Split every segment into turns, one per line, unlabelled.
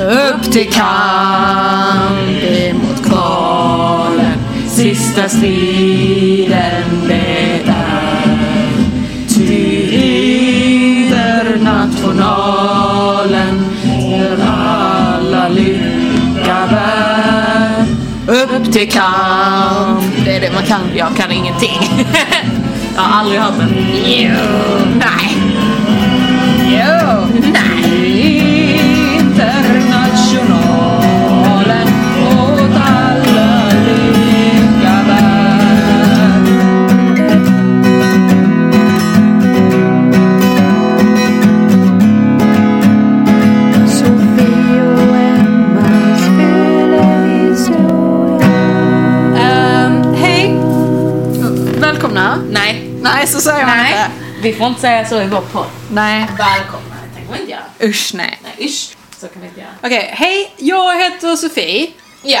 Upp till kamp emot kvalen Sista striden det är Ty internationalen Där alla lycka bär Upp till kamp Det är det man kan, jag kan ingenting Jag har aldrig hört den Jo, nej Jo, nej Internationalen åt alla lycka bär
Sofie och Emma spelar historia.
Ehm, hej! Välkomna. Nej. Nej, så säger man
Nej,
inte.
vi får inte säga så i vår podd.
Nej.
Välkomna, det tänker vi inte göra.
Usch, nej.
Nej, isch. Så kan vi inte göra.
Okej, hej. Jag heter Sofie.
Ja.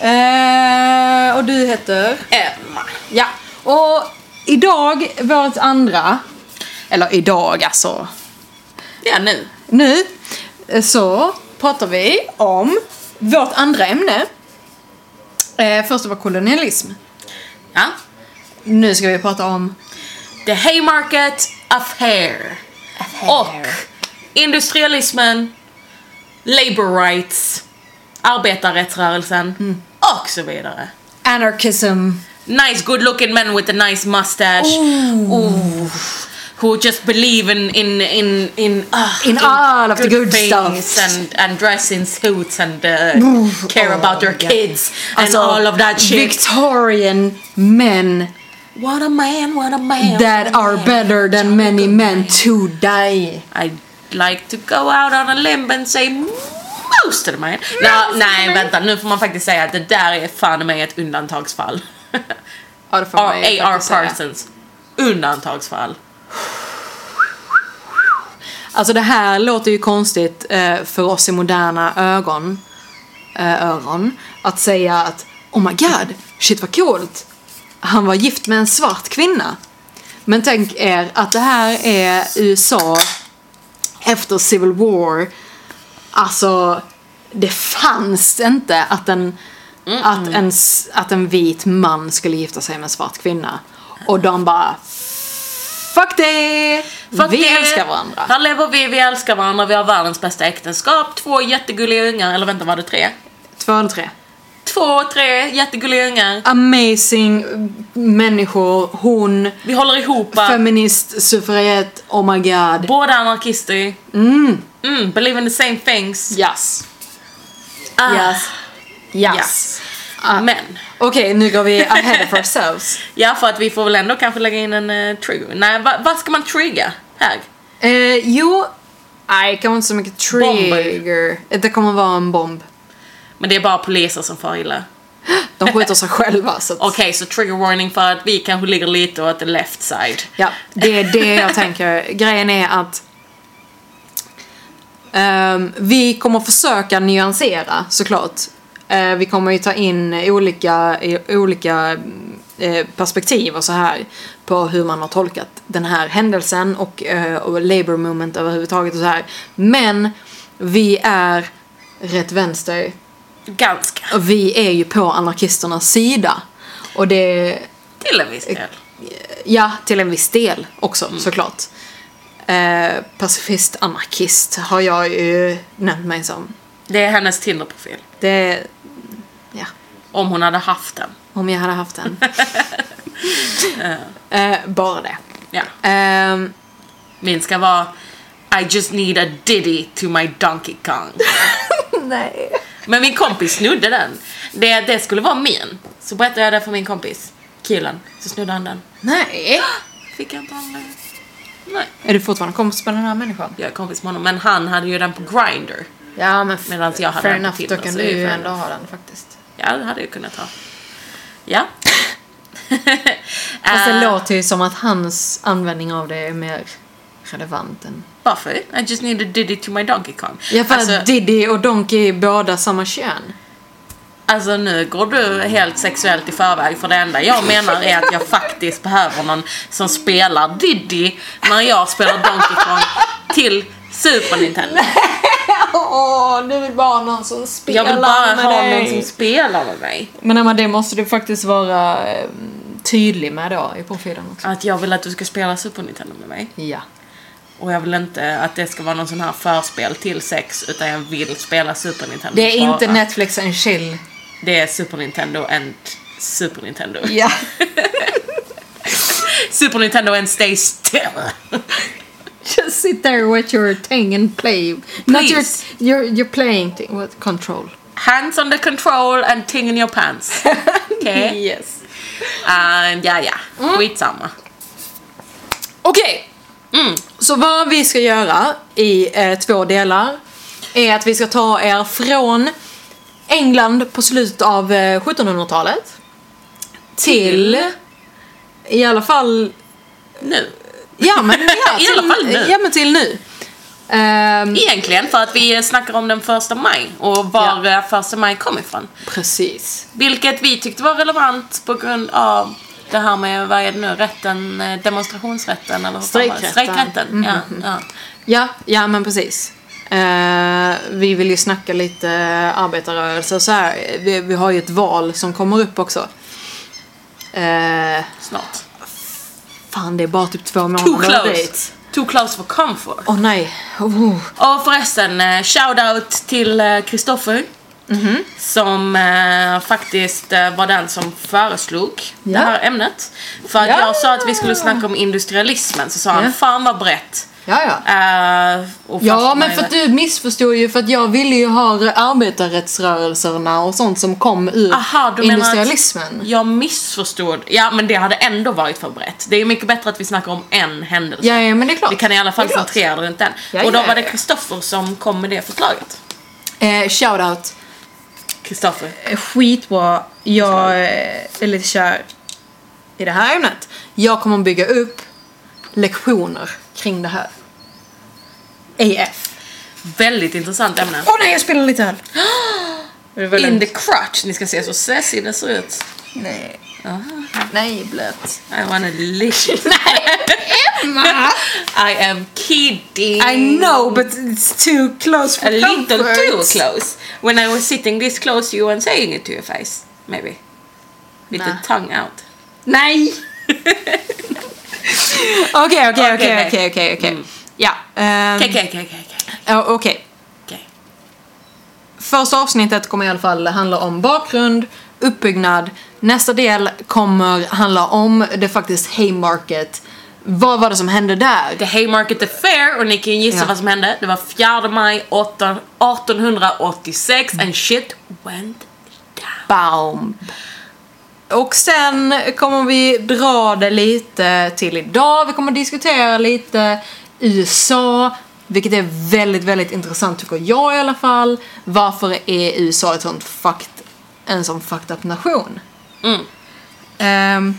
Eh, och du heter?
Emma.
Ja. Och idag, vårt andra, eller idag alltså,
Ja, nu.
nu, eh, så pratar vi om vårt andra ämne. Eh, första var kolonialism.
Ja.
Nu ska vi prata om
The Haymarket Affair. Och industrialismen, labor rights, arbetarrättsrörelsen och så vidare.
anarchism.
Nice good looking men with a nice mustache. Ooh. Who just believe in in in in, ah,
In all of the good stuff. Oh,
and and dress in suits and uh, care about their kids and
Alltså,
all of that shit.
Victorian men
what a man, what a man.
that are better than many men to die.
I'd like to go out on a limb and say most of the man. Ja, nej, vänta, nu får man faktiskt säga att det där är fan mig ett undantagsfall.
Ja, det får man ju
A.R.
faktiskt säga.
Parsons. Undantagsfall.
Alltså det här låter ju konstigt eh, för oss i moderna ögon, eh, öron, att säga att oh my god, shit vad coolt. Han var gift med en svart kvinna. Men tänk er att det här är USA efter Civil War. Alltså, det fanns inte att en, att en, s- att en vit man skulle gifta sig med en svart kvinna. Och de bara Fuck det!
Fuck
vi
det.
älskar varandra.
Här lever vi, vi älskar varandra, vi har världens bästa äktenskap, två jättegulliga ungar, eller vänta var det tre?
Två eller tre.
Två, tre jättegulliga ungar.
Amazing människor, hon,
Vi håller ihop.
feminist, suffragett, oh my god.
Båda anarkister. Mm, believe in the same things.
Yes.
Ah,
Yes. Yes.
Yes.
Ah.
Men,
Okej, nu går vi ahead of ourselves.
ja för att vi får väl ändå kanske lägga in en uh, trigger. Nej, va, vad ska man trigga här?
Eh, jo, nej, kan inte så mycket trigger. Det kommer vara en bomb.
Men det är bara poliser som far illa.
De skjuter sig själva. Så att,
Okej, så trigger warning för att vi kanske ligger lite åt the left side.
Ja, det är det jag tänker. Grejen är att ehm, vi kommer försöka nyansera såklart. Eh, vi kommer ju ta in olika, i- olika mm, eh, perspektiv och så här på hur man har tolkat den här händelsen och, eh, och labour movement överhuvudtaget och så här. Men vi är rätt vänster.
Ganska.
Och vi är ju på anarkisternas sida. Och det
Till en viss del.
Ja, till en viss del också såklart. Eh, pacifist, anarkist har jag ju nämnt mig som.
Det är hennes Tinder-profil.
Det, ja,
Om hon hade haft den.
om jag hade haft en. eh, bara det.
Ja.
Ehm,
Min ska vara I just need a diddy to my Donkey Kong.
nej.
Men min kompis snodde den. Det, det skulle vara min. Så berättade jag det för min kompis, killen. Så snodde han den.
Nej.
Fick jag inte han den? Nej.
Är du fortfarande kompis med den här människan?
Jag är kompis med honom, men han hade ju den på Grindr.
Ja, men
Medan jag hade
fair
den
enough,
på
då
Tinder,
kan
så
du
det är
ju
fair
ändå
enough.
ha den faktiskt.
Ja, det hade jag kunnat ha. Ja.
Fast
Eh,
det låter ju som att hans användning av det är mer relevant än...
Varför? I just need a diddy to my Donkey Kong.
Ja, för
alltså,
att Diddy och Donkey är båda samma kön.
Alltså nu går du helt sexuellt i förväg för det enda jag menar är att jag faktiskt behöver någon som spelar Diddy när jag spelar Donkey Kong till Super Nintendo.
Åh, du vill bara ha någon som spelar
Jag vill bara
med
ha
dig.
någon som spelar med mig.
Men Emma, det måste du faktiskt vara eh, tydlig med då i profilen också.
Att jag vill att du ska spela Super Nintendo med mig.
Ja.
Och jag vill inte att det ska vara någon sån här förspel till sex utan jag vill spela Super Nintendo.
Det är inte
bara.
Netflix and chill.
Det är Super Nintendo and Super Nintendo.
Ja.
Super Nintendo and stay still.
Just sit there and watch your thing and play. Not your,
Please.
your, your playing thing. What? Control.
Hands on the control and ting in your pants. Okej?
Yes.
And Ehm, ja, ja. Skitsamma.
Okej. Mm. Så vad vi ska göra i eh, två delar är att vi ska ta er från England på slutet av eh, 1700-talet till i alla fall
Nu.
Ja men, ja,
I alla
till,
fall nu.
Ja, men till nu. Ehm,
Egentligen för att vi snackar om den första maj och var eh, första maj kom ifrån.
Precis.
Vilket vi tyckte var relevant på grund av det här med, vad är det nu, rätten, eh, demonstrationsrätten eller hur fan var det?
Strejkrätten.
Strejkrätten. Ja, ja.
Ja, ja men precis. Eh, vi vill ju snacka lite arbetarrörelse och så här. Vi, vi har ju ett val som kommer upp också. Eh,
Snart.
fan, det är bara typ två
Too
månader
close. Too close for comfort.
Åh nej. Oh.
Och förresten, eh, shoutout till Kristoffer.
Mhm.
Som eh, faktiskt eh, var den som föreslog
Ja.
det här ämnet. För att
Ja.
jag sa att vi skulle snacka om industrialismen, så sa han
Ja.
fan vad brett.
Ja, ja.
Eh, och
Ja,
första
men
maj-
för att du missförstod ju för att jag ville ju ha arbetarrättsrörelserna och sånt som kom ur
Aha, du
industrialismen.
menar att jag missförstod? Ja, men det hade ändå varit för brett. Det är mycket bättre att vi snackar om en händelse.
Ja, ja, men det är klart.
Vi kan i alla fall
Det är klart.
centrera det runt den.
Ja,
och då
ja,
var det
ja.
Kristoffer som kom med det förslaget.
Eh, shoutout.
Kristoffer.
skit vad Eh, jag eh, är lite kär i det här ämnet. Jag kommer bygga upp lektioner kring det här. AF.
Väldigt intressant ämne.
Åh nej, jag spelar lite öl! Det var
In
lugnt.
the crutch. Ni ska se så sessig det ser ut.
Nej. Nej, blött.
I wanna lick.
Emma!
I am kidding.
I know but it's too close for
A little
comfort.
too close. When I was sitting this close you weren't saying it to your face. Maybe. With
Nah.
the tongue out.
Nej! Okej, okej, okej,
nej.
okej, okej, okej.
Mm.
Ja. ehm,
Okej, okej, okej, okej,
ja, Okej.
okej.
Första avsnittet kommer i alla fall handla om bakgrund, uppbyggnad. Nästa del kommer handla om det faktiskt Haymarket. Vad var det som hände där?
The Haymarket Affair och ni kan ju gissa
Ja.
vad som hände. Det var 4 maj 18- 1886 and shit went down.
Baum. Och sen kommer vi dra det lite till idag. Vi kommer diskutera lite USA, vilket är väldigt, väldigt intressant tycker jag i alla fall. Varför är USA ett sånt fakt, en sån fucked up nation?
Mm.
Ehm,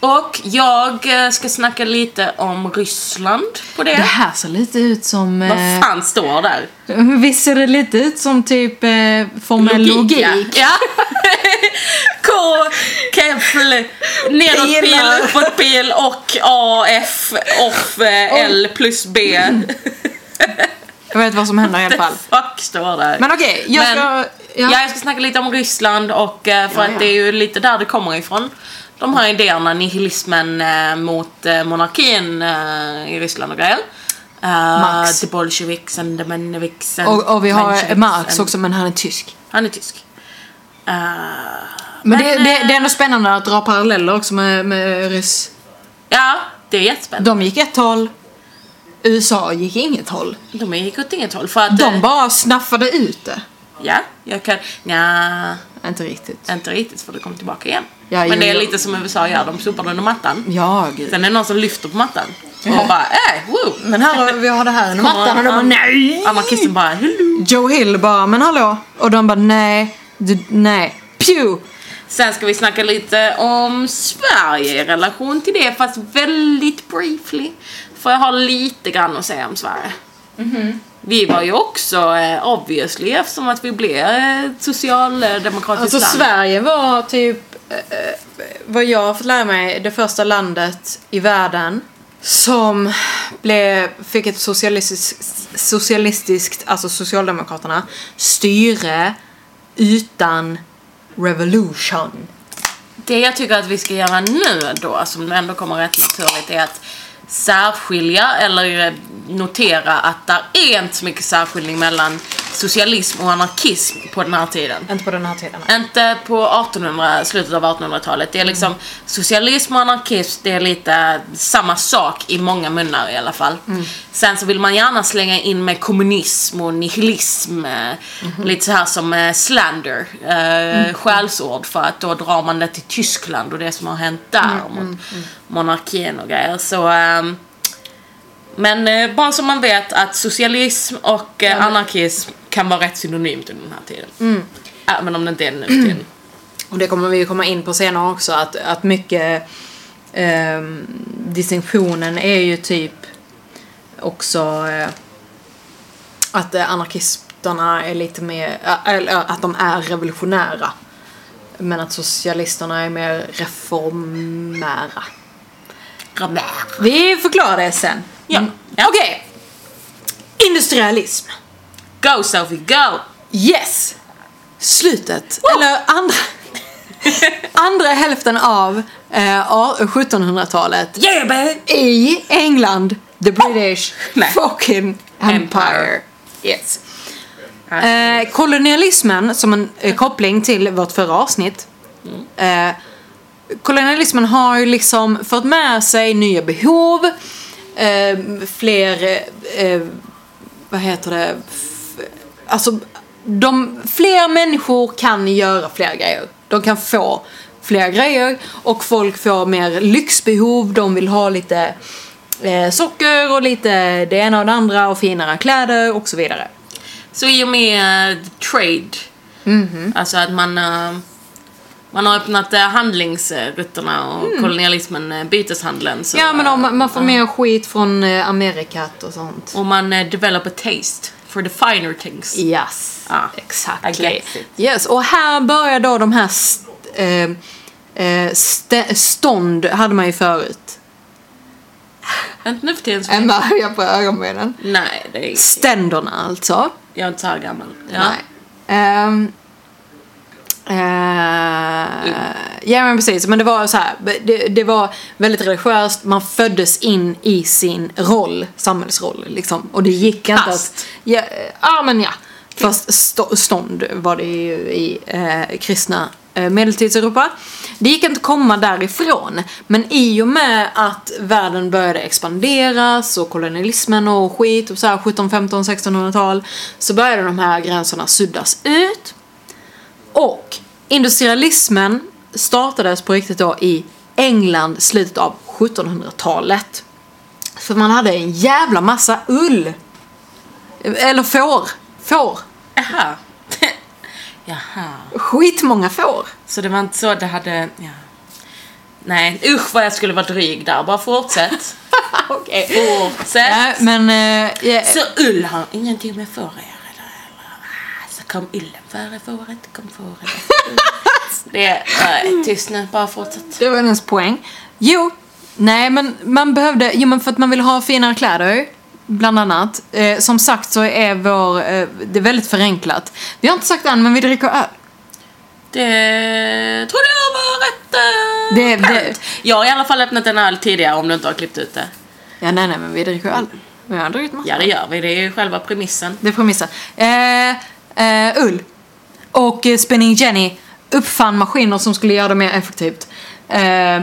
Och jag eh, ska snacka lite om Ryssland på det.
det här ser lite ut som... eh,
Vad fan står där?
Visst ser det lite ut som typ eh, formell logik?
Ja. K, kefl, nedåt pil,
Pilar.
uppåt pil och A, F, off, eh, L plus B.
Jag vet vad som händer i alla
The
fall.
fuck står där?
Men okej, jag
Men-
ska...
Ja.
Ja.
jag ska snacka lite om Ryssland och eh, för
Ja,
att
ja.
det är ju lite där det kommer ifrån. De här idéerna, nihilismen eh, mot eh, monarkin eh, i Ryssland och grejer. Eh,
Marx.
The Bolsjeviks and the Menneviks and
och, och vi har
Mensheviks
Marx
and-
också, men han är tysk.
Han är tysk. Eh,
Men, det,
Men,
det,
eh,
det är ändå spännande att dra paralleller också med, med ryss.
ja, det är jättespännande.
De gick ett håll, USA gick inget håll.
De gick åt inget håll för att... eh,
De bara snaffade ut det.
Ja, jag kan... Nja,
Inte riktigt.
inte riktigt för det kom tillbaka igen.
Ja,
Men
jo,
det är
jo. Mm.
lite som USA gör, de sopar under mattan.
Ja, gud.
Sen är det någon som lyfter på mattan.
Ja.
Och bara äh, wow.
Men här, har- vi har det här, en mattan och de bara nej!
Anarkisten bara hello.
Joe Hill bara, men hallå? Och de bara nej, du, nej. Pew!
Sen ska vi snacka lite om Sverige i relation till det fast väldigt briefly. För jag har lite grann att säga om Sverige.
Mm-hmm.
Vi var ju också eh, obviously eftersom att vi blev eh, socialdemokratiskt
Alltså
land.
Sverige var typ, eh, eh, vad jag har fått lära mig, det första landet i världen som blev, fick ett socialistiskt, socialistiskt, alltså Socialdemokraterna, styre utan revolution.
Det jag tycker att vi ska göra nu då, som ändå kommer rätt naturligt, är att särskilja eller eh, notera att där är inte så mycket särskiljning mellan socialism och anarkism på den här tiden.
Inte på den här tiden.
Inte på 1800, slutet av 1800-talet. Det är liksom socialism och anarkism, det är lite samma sak i många munnar i alla fall. Sen så vill man gärna slänga in med kommunism och nihilism. eh, Lite så här som eh, slander, eh, skällsord för att då drar man det till Tyskland och det som har hänt där mot monarkin och grejer. Så, ehm, men eh, bara så man vet att socialism och eh, anarkism kan vara rätt synonymt under den här tiden. Även om det inte är nu för tiden.
Och det kommer vi ju komma in på senare också att, att mycket ehm, distinktionen är ju typ också eh, att eh, anarkisterna är lite mer, ä- eller ä, att de är revolutionära. Men att socialisterna är mer reformära.
Robert.
Vi förklarar det sen.
Ja. ja. Okej.
Industrialism.
Go Sophie, go!
Yes! Slutet, eller andra, andra hälften av eh, a- 1700-talet
Yeah baby!
i E, England, the British
Nej.
fucking empire.
Empire.
Yes. Eh, kolonialismen, som en eh, koppling till vårt förra avsnitt. Eh, kolonialismen har ju liksom fört med sig nya behov, eh, fler, eh, vad heter det, F- alltså de, fler människor kan göra fler grejer. De kan få fler grejer och folk får mer lyxbehov, de vill ha lite eh, socker och lite det ena och det andra och finare kläder och så vidare.
Så i och med eh, trade, alltså att man, eh, man har öppnat eh, handlingsrutterna och kolonialismen, eh, byteshandeln. Så,
Ja men
eh,
om man får mer skit från eh, Amerikat och sånt.
Och man eh, develop a taste for the finer things.
Yes,
Ah, I
exactly.
get it.
Yes, och här börjar då de här st- eh, eh, st- stånd, hade man ju förut.
Inte Eh, nu för tiden. så-
Emma höjer på ögonbrynen.
Nej, det är,
Ständerna alltså.
jag är inte så här gammal. Ja.
Nej. Ehm, eh, ja men precis, men det var så här, det, det var väldigt religiöst, man föddes in i sin roll, samhällsroll liksom. Och det gick inte
Fast.
att... Ja, eh, ja men ja. Fast stå, stånd var det ju i eh, kristna eh, medeltidseuropa. Det gick inte att komma därifrån. Men i och med att världen började expanderas och kolonialismen och skit och så här 17, 15, 1600-tal så började de här gränserna suddas ut. Och industrialismen startades på riktigt då i England slutet av 1700-talet. För man hade en jävla massa ull. Eller får. Får.
Jaha. Jaha.
Skitmånga får.
Så det var inte så det hade... Ja. Nej, usch vad jag skulle vara dryg där. Bara fortsätt.
Okej.
Fortsätt.
Nej, men... eh, ja,
Så ull har ingenting med får att göra. eller? Ah, Så kom ullen före fåret, kom fåret efter ullen. Det, nej, tyst nu, bara fortsätt.
det var hennes poäng. Jo. Nej, men man behövde... Jo, men för att man vill ha finare kläder. Bland annat. Eh, som sagt så är vår... Eh, det är väldigt förenklat. Vi har inte sagt än, men vi dricker öl.
Det trodde jag var rätt eh,
Det- det-
skönt. Jag har i alla fall öppnat en öl tidigare om du inte har klippt ut det.
Ja, nej, nej, men vi dricker öl. Vi har druckit massa.
Ja, det gör vi. Det är ju själva premissen.
Det är premissen. Eh, eh, ull. Och eh, Spinning Jenny uppfann maskiner som skulle göra det mer effektivt. Eh,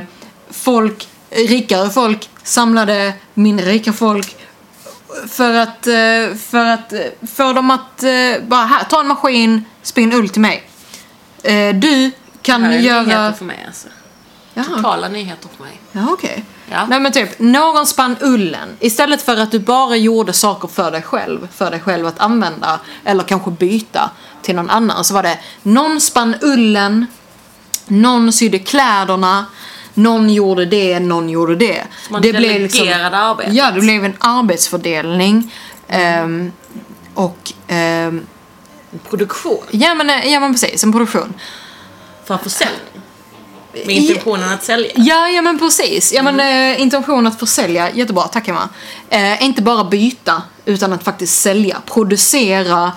folk, rikare folk samlade mindre rika folk för att, eh, för att eh, få dem att eh, bara här, ta en maskin, spinn ull till mig. Eh, du
Det här är
kan
nyheter
göra...
för mig alltså.
Jaha,
Totala nyheter för mig.
Ja, okej.
Ja.
Nej men typ, någon spann ullen. Istället för att du bara gjorde saker för dig själv, för dig själv att använda eller kanske byta till någon annan så var det någon spann ullen, någon sydde kläderna, någon gjorde det, någon gjorde det. liksom-
man delegerade arbetet.
Ja, det blev en arbetsfördelning. Ehm, och, ehm, eh,
Produktion.
ja men, ja men precis, en produktion.
För försäljning. Med intentionen att sälja.
Ja, ja men precis. Ja, men,
Mm.
eh, intention att försälja, jättebra, tack Emma. Eh, inte bara byta, utan att faktiskt sälja. Producera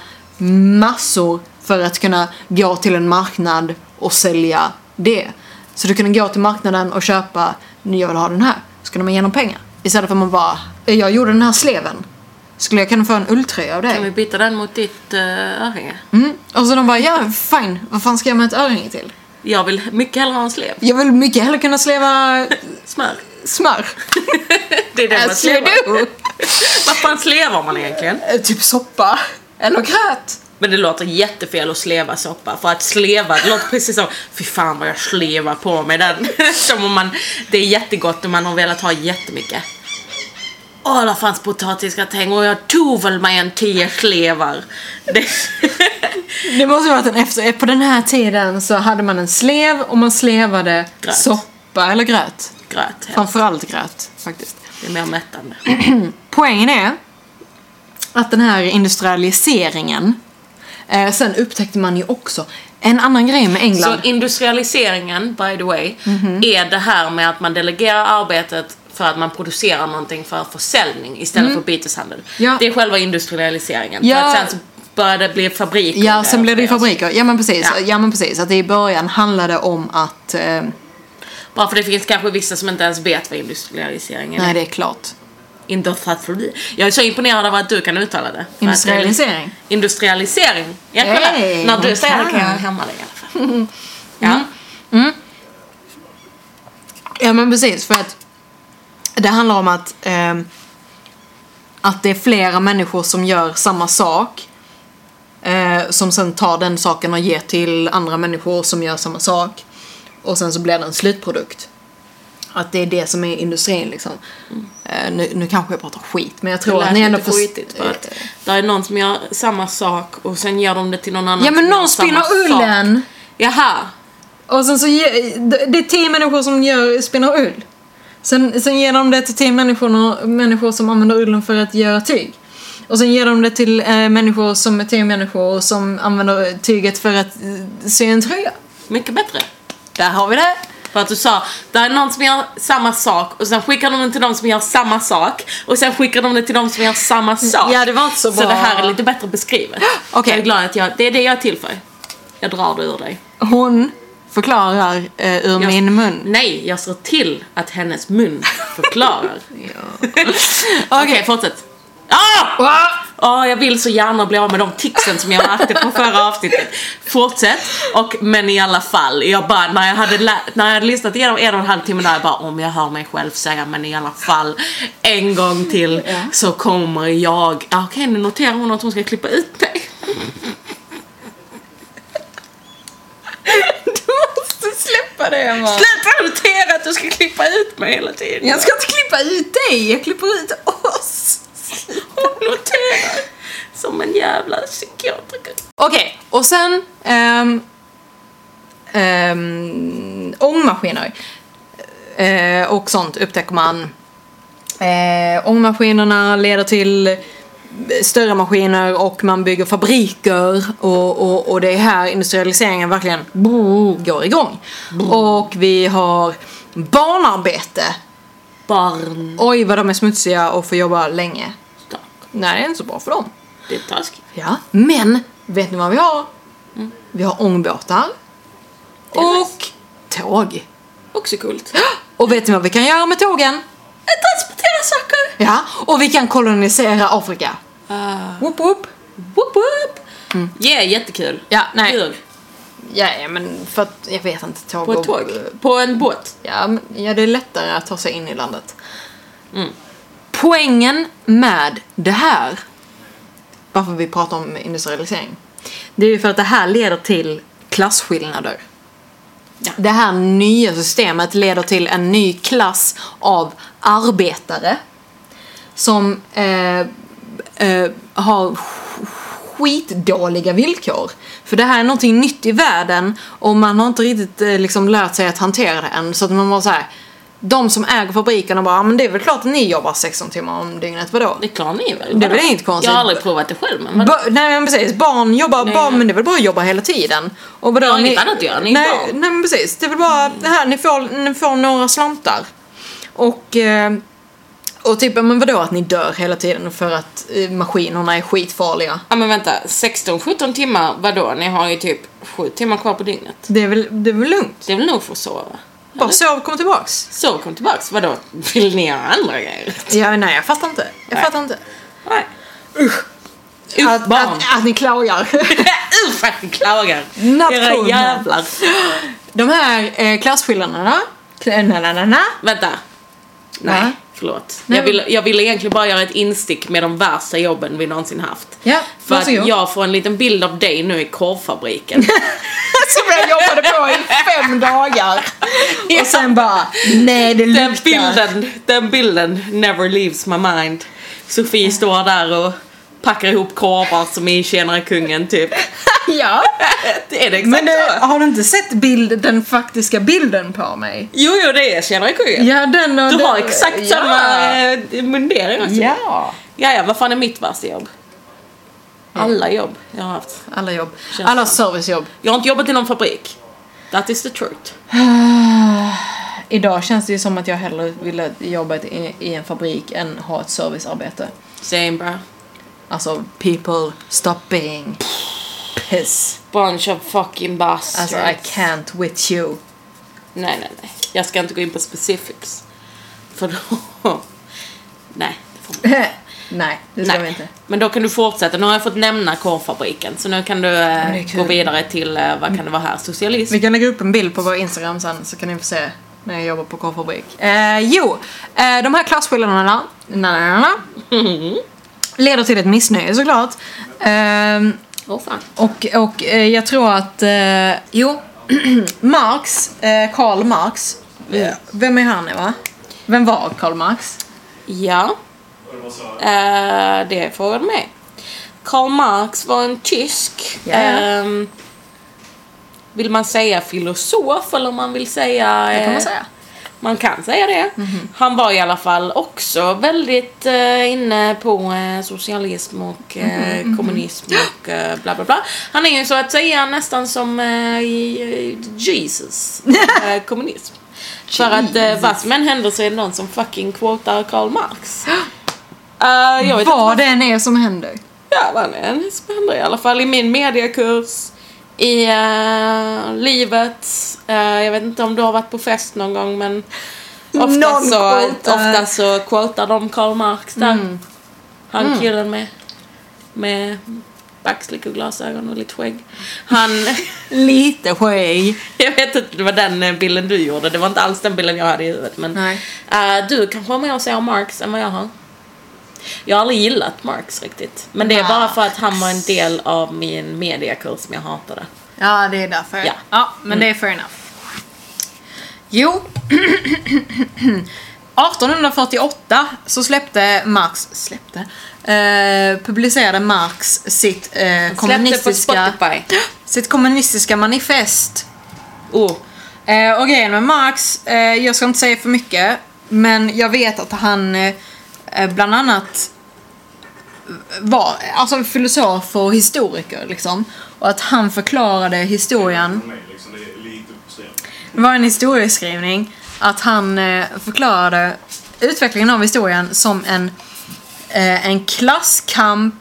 massor för att kunna gå till en marknad och sälja det. Så du kan gå till marknaden och köpa, nu jag vill ha den här, så kan de ge dem pengar. Istället för att man bara, "Eh, jag gjorde den här sleven. Skulle jag kunna få en ulltröja av
Kan vi
dig?
byta den mot ditt uh, örhänge?
Mm. Och så de bara, ja fine, vad fan ska jag med ett örhänge till?
Jag vill mycket hellre ha en slev.
Jag vill mycket hellre kunna sleva
Smör.
smör.
Det är det man
As you
slevar.
do.
Vad fan slevar man egentligen?
Eh, Typ soppa. Eller gröt.
Men det låter jättefel att sleva soppa. För att sleva, det låter precis som Fy fan vad jag slevar på mig den. som om man, det är jättegott och man har velat ha jättemycket. Åh, där fanns potatisgratäng och jag tog väl mig en tio slevar. Det,
Det måste vara att en efter... På den här tiden så hade man en slev och man slevade
Gröt.
soppa eller gröt.
gröt, här.
Framförallt gröt faktiskt.
det är mer mättande.
Poängen är att den här industrialiseringen eh, sen upptäckte man ju också en annan grej med England.
Så industrialiseringen, by the way,
Mhm.
är det här med att man delegerar arbetet för att man producerar någonting för försäljning istället för byteshandel.
Mm. Ja.
Det är själva industrialiseringen.
Ja.
För att sen så börjar det bli fabriker.
Ja, sen blev det ju
och grejer.
fabriker. Ja men precis.
Ja.
Ja. men precis. Att det i början handlade om att... Eh,
Bara för det finns kanske vissa som inte ens vet vad industrialiseringen
nej,
är.
det är klart.
Industri. Jag är så imponerad över att du kan uttala det. För att det är-
Industrialisering.
Industrialisering. Ja, kolla.
Hey,
När du
hon
säger det
kan.
kan jag hämma det i alla fall. Ja.
Ja men precis, för att det handlar om att, ehm, att det är flera människor som gör samma sak. Eh, som sen tar den saken och ger till andra människor som gör samma sak. Och sen så blir det en slutprodukt. Att det är det som är industrin liksom. Eh, nu, nu kanske jag pratar skit men jag tror
Mm. Det
att
lät
ni ändå eh,
lite skitigt för att det är någon som gör samma sak och sen gör de det till någon annan
Ja men
som gör
någon spinner
samma sak.
ullen!
Jaha.
Och sen så ge, det det är tio människor som gör, spinner ull. Sen, sen ger de det till tio människor, människor som använder ullen för att göra tyg. Och sen ger de det till eh, människor som är tio människor som använder tyget för att eh, sy en tröja.
Mycket bättre.
Där har vi det!
För att du sa, det är någon som gör samma sak och sen skickar de den till de som gör samma sak och sen skickar de den till de som gör samma sak.
Mm, Ja, det var inte så
Så
bra.
det här är lite bättre beskrivet.
Okej.
Jag är glad att jag, det är det jag är till för. Jag drar det ur dig.
Hon förklarar eh, ur
Jag,
min mun.
Nej, jag ser till att hennes mun förklarar.
Okej.
Okej, fortsätt. Ah!
Ah!
Ja, jag vill så gärna bli av med de ticsen som jag märkte på förra avsnittet. Fortsätt. Och, men i alla fall, jag bara, när jag hade, lä- när jag hade lyssnat igenom en och en halv timme där, jag bara om jag hör mig själv säga men i alla fall en gång till så kommer jag. Ja, Okej, nu noterar hon att hon ska klippa ut mig.
Du måste släppa det Emma!
Sluta notera att du ska klippa ut mig hela tiden.
Jag ska inte klippa ut dig, jag klipper ut oss!
Hon noterar som en jävla psykiatriker.
Okej, och sen... Um, um, ångmaskiner. Eh, och sånt upptäcker man. Uh, ångmaskinerna leder till större maskiner och man bygger fabriker och, och, och det är här industrialiseringen verkligen bo, går igång. Och vi har barnarbete.
Barn.
Oj vad de är smutsiga och får jobba länge. Nej, det är inte så bra för dem.
Det är taskigt.
Ja, men vet ni vad vi har? Vi har ångbåtar.
är
Och tåg.
Också coolt.
Och vet ni vad vi kan göra med tågen?
Transportera saker.
Ja, och vi kan kolonisera Afrika.
Ah.
Whoop whoop.
Woop woop! Yeah, jättekul.
Ja, nej.
Kul.
Ja, ja, men för att jag vet inte. Tåg
På ett
och-
tåg. På en båt.
Ja, men, ja, det är lättare att ta sig in i landet.
Mm.
Poängen med det här, varför vi pratar om industrialisering, det är ju för att det här leder till klasskillnader.
Ja.
Det här nya systemet leder till en ny klass av arbetare som eh, eh, har sk- skitdåliga villkor. För det här är någonting nytt i världen och man har inte riktigt eh, liksom lärt sig att hantera det än. Så att man var så här, de som äger fabriken och bara, "Ja, men det är väl klart att ni jobbar 16 timmar om dygnet, vadå?
Det klarar ni väl?
Det är väl
Vadå?
inget konstigt.
Jag har aldrig provat det själv men vadå?
Ba- nej men precis, barn jobbar, barn, men det är väl bara att jobba hela tiden. Och vadå,
Jag har inget annat att göra, ni är
nej,
barn.
nej men precis, det är väl bara det här, ni får, ni får några slantar. Och, eh, och typ, men vadå att ni dör hela tiden för att eh, maskinerna är skitfarliga?
Ja men vänta, 16-17 timmar, vadå? Ni har ju typ 7 timmar kvar på dygnet.
Det är väl, det är väl lugnt?
Det är väl nog för att sova?
Bara sov, kom tillbaks.
Så kom tillbaks, vadå? Vill ni göra andra grejer?
Ja, nej jag fattar inte. Jag
Nej.
fattar inte.
Nej.
Att,
Usch! barn!
att, att ni klagar.
Usch att ni klagar!
Nationen.
Era jävlar!
De här eh, klasskillnaderna. Na, na, na, na.
Vänta. Nej,
Va?
förlåt.
Nej.
Jag ville jag vill egentligen bara göra ett instick med de värsta jobben vi någonsin haft.
Ja,
För att
varsågod.
jag får en liten bild av dig nu i korvfabriken.
Som jag jobbade på i fem dagar. Och sen bara, nej det
den
luktar.
bilden, den bilden never leaves my mind. Sofie står där och packar ihop korvar som i Tjenare Kungen typ.
ja.
Det är det exakt
Men det,
så?
har du inte sett bild, den faktiska bilden på mig?
Jo, jo det är Tjenare Kungen.
Ja, den och
Du
den,
har exakt samma eh, mundering också.
Ja.
Ja, ja, vad fan är mitt värsta jobb? Alla jobb jag har haft.
Alla jobb.
Känns
Alla servicejobb.
Jag har inte jobbat i någon fabrik. That is the truth.
Idag känns det ju som att jag hellre ville jobba i, i en fabrik än ha ett servicearbete.
Same bra.
Alltså, people stop being piss.
Bunch of fucking bastards.
Alltså, I can't with you.
Nej, nej, nej. Jag ska inte gå in på specifics. För då... Nej, det får man
Nej, det ska
nej.
vi inte.
Men då kan du fortsätta. Nu har jag fått nämna korvfabriken. Så nu kan du eh,
det är kul.
gå vidare till, eh, vad kan det vara här, socialism?
Vi kan lägga upp en bild på vår Instagram sen så kan ni få se när jag jobbar på korvfabrik. Eh, jo, eh, de här klasskillnaderna na, na, na, na, leder till ett missnöje såklart. Ehm,
Åh fan.
och och eh, jag tror att, eh, jo, Marx, eh, Karl Marx, eh, vem är han va? Vem var Karl Marx?
Ja. Eh, det frågade mig. Karl Marx var en tysk.
Ja, ja.
ehm, vill man säga filosof eller om man vill säga...
Det kan man
eh,
säga.
Man kan säga det. Han var i alla fall också väldigt eh, inne på eh, socialism och eh, kommunism och eh, bla bla bla. Han är ju så att säga nästan som eh, i- i Jesus, eh, kommunism. För att eh, vad som än händer så är det någon som fucking quotar Karl Marx. Eh, jag vet inte
Vad det än är som händer.
Ja, vad det än som händer i alla fall i min mediekurs, i eh, livet. Eh, jag vet inte om du har varit på fest någon gång men ofta,
Någon
så,
quotar.
ofta så quotar de Karl Marx där.
Mm.
Han killen med, med backslick och glasögon och lite skägg. Han,
Lite skägg.
jag vet inte, det var den eh, bilden du gjorde. Det var inte alls den bilden jag hade i huvudet. Men
Nej.
eh, du kanske har mer att säga om Marx än vad jag har. Jag har aldrig gillat Marx riktigt. Men det är bara för att han var en del av min mediakurs som jag hatade.
Ja, det är därför.
Ja.
men det är fair enough. Jo. 1848 så släppte Marx, släppte, eh, publicerade Marx sitt eh, kommunistiska,
Spotify.
sitt kommunistiska manifest.
Oh,
Eh, och grejen med Marx, eh, jag ska inte säga för mycket, men jag vet att han eh, eh, bland annat var alltså, en filosof och historiker. Liksom. Och att han förklarade historien
För mig, liksom, det är lite uppställt.
Det var en historieskrivning att han eh, förklarade utvecklingen av historien som en, eh, en klasskamp,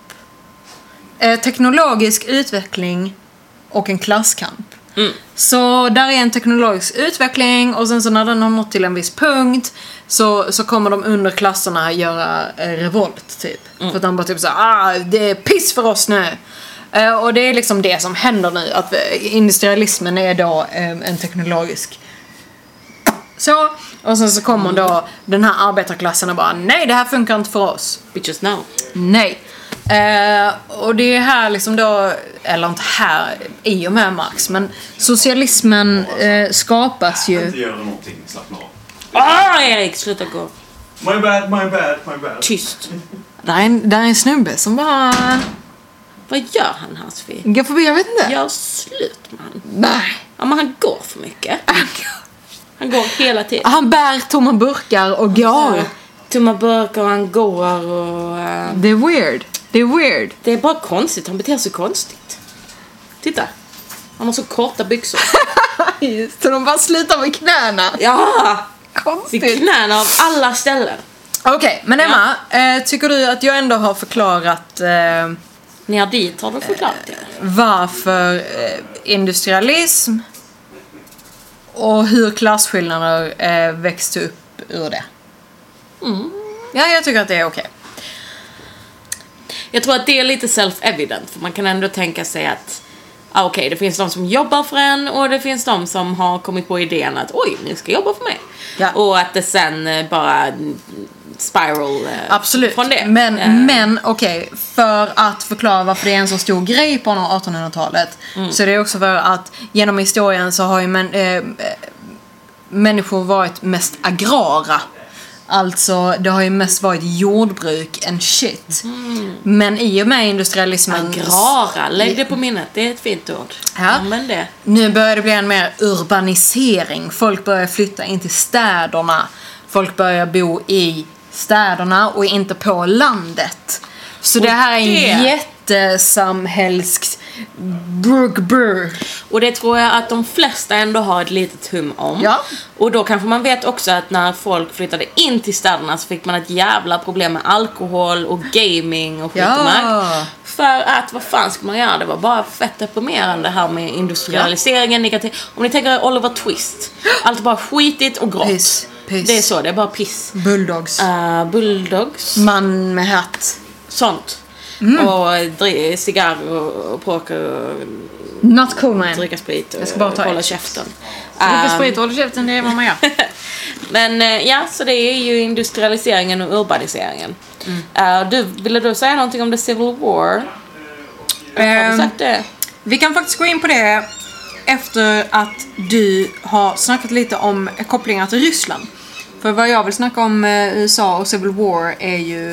eh, teknologisk utveckling och en klasskamp. Så där är en teknologisk utveckling och sen så när den har nått till en viss punkt så, så kommer de under klasserna göra eh, revolt typ. För att de bara typ såhär, ah det är piss för oss nu. Eh, och det är liksom det som händer nu, att eh, industrialismen är då eh, en teknologisk så, och sen så kommer då den här arbetarklassen och bara nej det här funkar inte för oss.
bitches now.
Nej. Eh, och det är här liksom då, eller inte här i och med Marx, men socialismen eh, skapas
Inte
ju.
göra någonting, slappna av.
Ah, Erik, sluta gå.
My bad, my bad, my bad.
Tyst.
Där är, en, där är en snubbe som bara
Vad gör han här Sofie?
går förbi, jag vet inte.
Gör slut med han.
Nej.
Ja, men han går för mycket. Han går hela tiden.
Han bär tomma burkar och går.
Tomma burkar och han går och... eh,
Det är weird. Det är weird.
Det är bara konstigt. Han beter sig konstigt. Titta. Han har så korta byxor.
Så de bara slutar med knäna.
ja! I
Konstigt.
knäna av alla ställen.
Okej, men Emma. Eh, tycker du att jag ändå har förklarat eh,
Ner dit har du förklarat det.
varför eh, industrialism och hur klasskillnader eh, växte upp ur det?
Mm.
Ja, jag tycker att det är okej.
Jag tror att det är lite self-evident. För man kan ändå tänka sig att ah, okej, det finns de som jobbar för en och det finns de som har kommit på idén att oj, ni ska jobba för mig.
Ja.
Och att det sen eh, bara mm, spiral eh,
Absolut.
från det.
Men,
Eh,
men okej, för att förklara varför det är en så stor grej på 1800-talet
Mm.
så är det också för att genom historien så har ju men, eh, eh, människor varit mest agrara. Alltså, det har ju mest varit jordbruk än shit.
Mm.
Men i och med industrialismen...
Agrara, lägg det på minnet. Det är ett fint ord.
Ja.
Använd det.
Nu börjar det bli en mer urbanisering. Folk börjar flytta in till städerna. Folk börjar bo i städerna och inte på landet. Så det här är en
det-
jättesamhällsk bruk bruk.
Och det tror jag att de flesta ändå har ett litet hum om.
Ja.
Och då kanske man vet också att när folk flyttade in till städerna så fick man ett jävla problem med alkohol och gaming och skit och
Ja.
mack. För att vad fan ska man göra? Det var bara fett deprimerande här med industrialiseringen. Ni kan tänka- Om ni tänker er Oliver Twist. Allt är bara skitigt och grått.
Piss, piss.
Det är så, det är bara piss.
Bulldogs.
Uh, bulldogs,
Äh, Man med hatt.
sånt.
Mm.
Och eh, dri- cigarrer och och poker och
Not cool man. Äh.
dricka sprit och
Jag ska bara ta
hålla
ett.
käften.
Dricka
Ehm,
sprit och håll käften, det är vad man gör.
Men eh, ja, så det är ju industrialiseringen och urbaniseringen. Eh, du, ville du säga någonting om the civil war? Har du
Ehm,
sagt det?
Vi kan faktiskt gå in på det efter att du har snackat lite om kopplingar till Ryssland. För vad jag vill snacka om eh, USA och Civil War är ju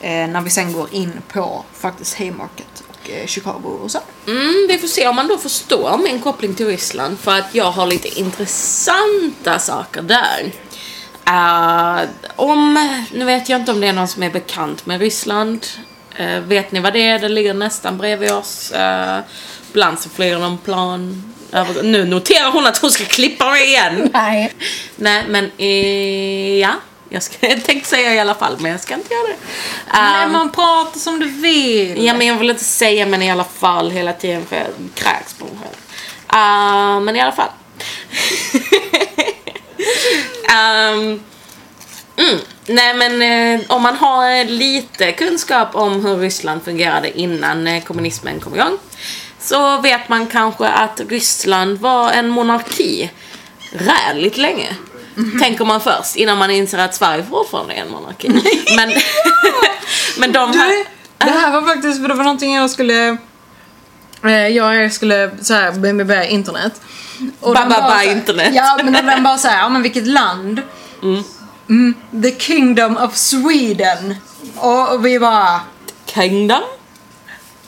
eh, när vi sen går in på faktiskt Haymarket och eh, Chicago och så.
Mm, vi får se om man då förstår min koppling till Ryssland för att jag har lite intressanta saker där. Eh, om, nu vet jag inte om det är någon som är bekant med Ryssland. Eh, vet ni vad det är? Det ligger nästan bredvid oss. Eh, ibland så flyger de plan. över- Nu noterar hon att hon ska klippa mig igen.
Nej.
Nej, men eh, ja. Jag, ska, jag tänkte säga i alla fall, men jag ska inte göra det.
Nej,
Ehm,
man pratar som du vill.
ja, men jag vill inte säga men i alla fall hela tiden för jag kräks på mig själv. Ehm, men i alla fall. Ehm, mm. Nej men eh, om man har eh, lite kunskap om hur Ryssland fungerade innan eh, kommunismen kom igång så vet man kanske att Ryssland var en monarki räligt länge. Tänker man först innan man inser att Sverige fortfarande är en monarki. Men, men de
Du, det här var faktiskt, för det var någonting jag skulle... eh, Jag och Erik skulle så här, börja- börja internet. Och
Ba,
de
ba,
bara
ba,
så här-
internet.
Ja, men och den bara såhär, ja men vilket land? Mm, the kingdom of Sweden. Och och vi bara,
Kingdom?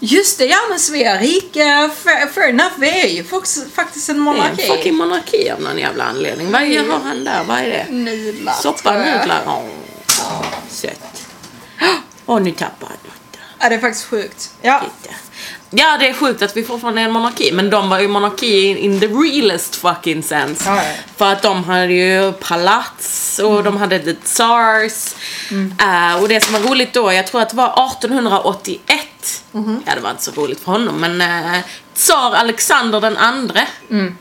just det, ja men Svea rike, fair, fair enough, vi är ju fox- faktiskt en
Det är en
monarki.
fucking monarki av någon jävla anledning. Vad är, har han där? Vad är det?
Nudlar,
Soppa,
tror jag.
nudlar. Åh, sött. Åh, nu tappar jag något.
Ja, det är faktiskt sjukt. Ja.
Titta. Ja, det är sjukt att vi fortfarande är en monarki, men de var ju monarki in, in the realest fucking sense.
Ja, ja.
För att de hade ju palats och de hade the tsars.
Mm.
Eh, och det som var roligt då, jag tror att det var 1881.
Mhm.
Ja, det var inte så roligt för honom, men eh, tsar Alexander den andre.
Mm.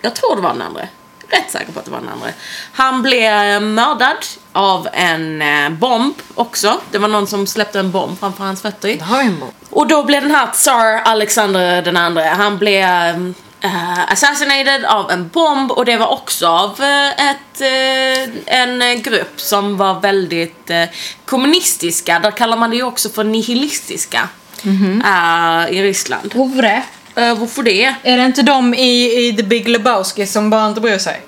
Jag tror det var den andre. Rätt säker på att det var den andre. Han blev mördad av en eh, bomb också. Det var någon som släppte en bomb framför hans fötter.
har vi en bomb.
Och då blev den här tsar Alexander den andre, han blev eh, assassinated av en bomb och det var också av eh, ett, eh, en eh, grupp som var väldigt eh, kommunistiska. Där kallar man det ju också för nihilistiska eh, i Ryssland.
Hovre.
Eh, varför det?
Är det inte de i, i The Big Lebowski som bara inte bryr sig?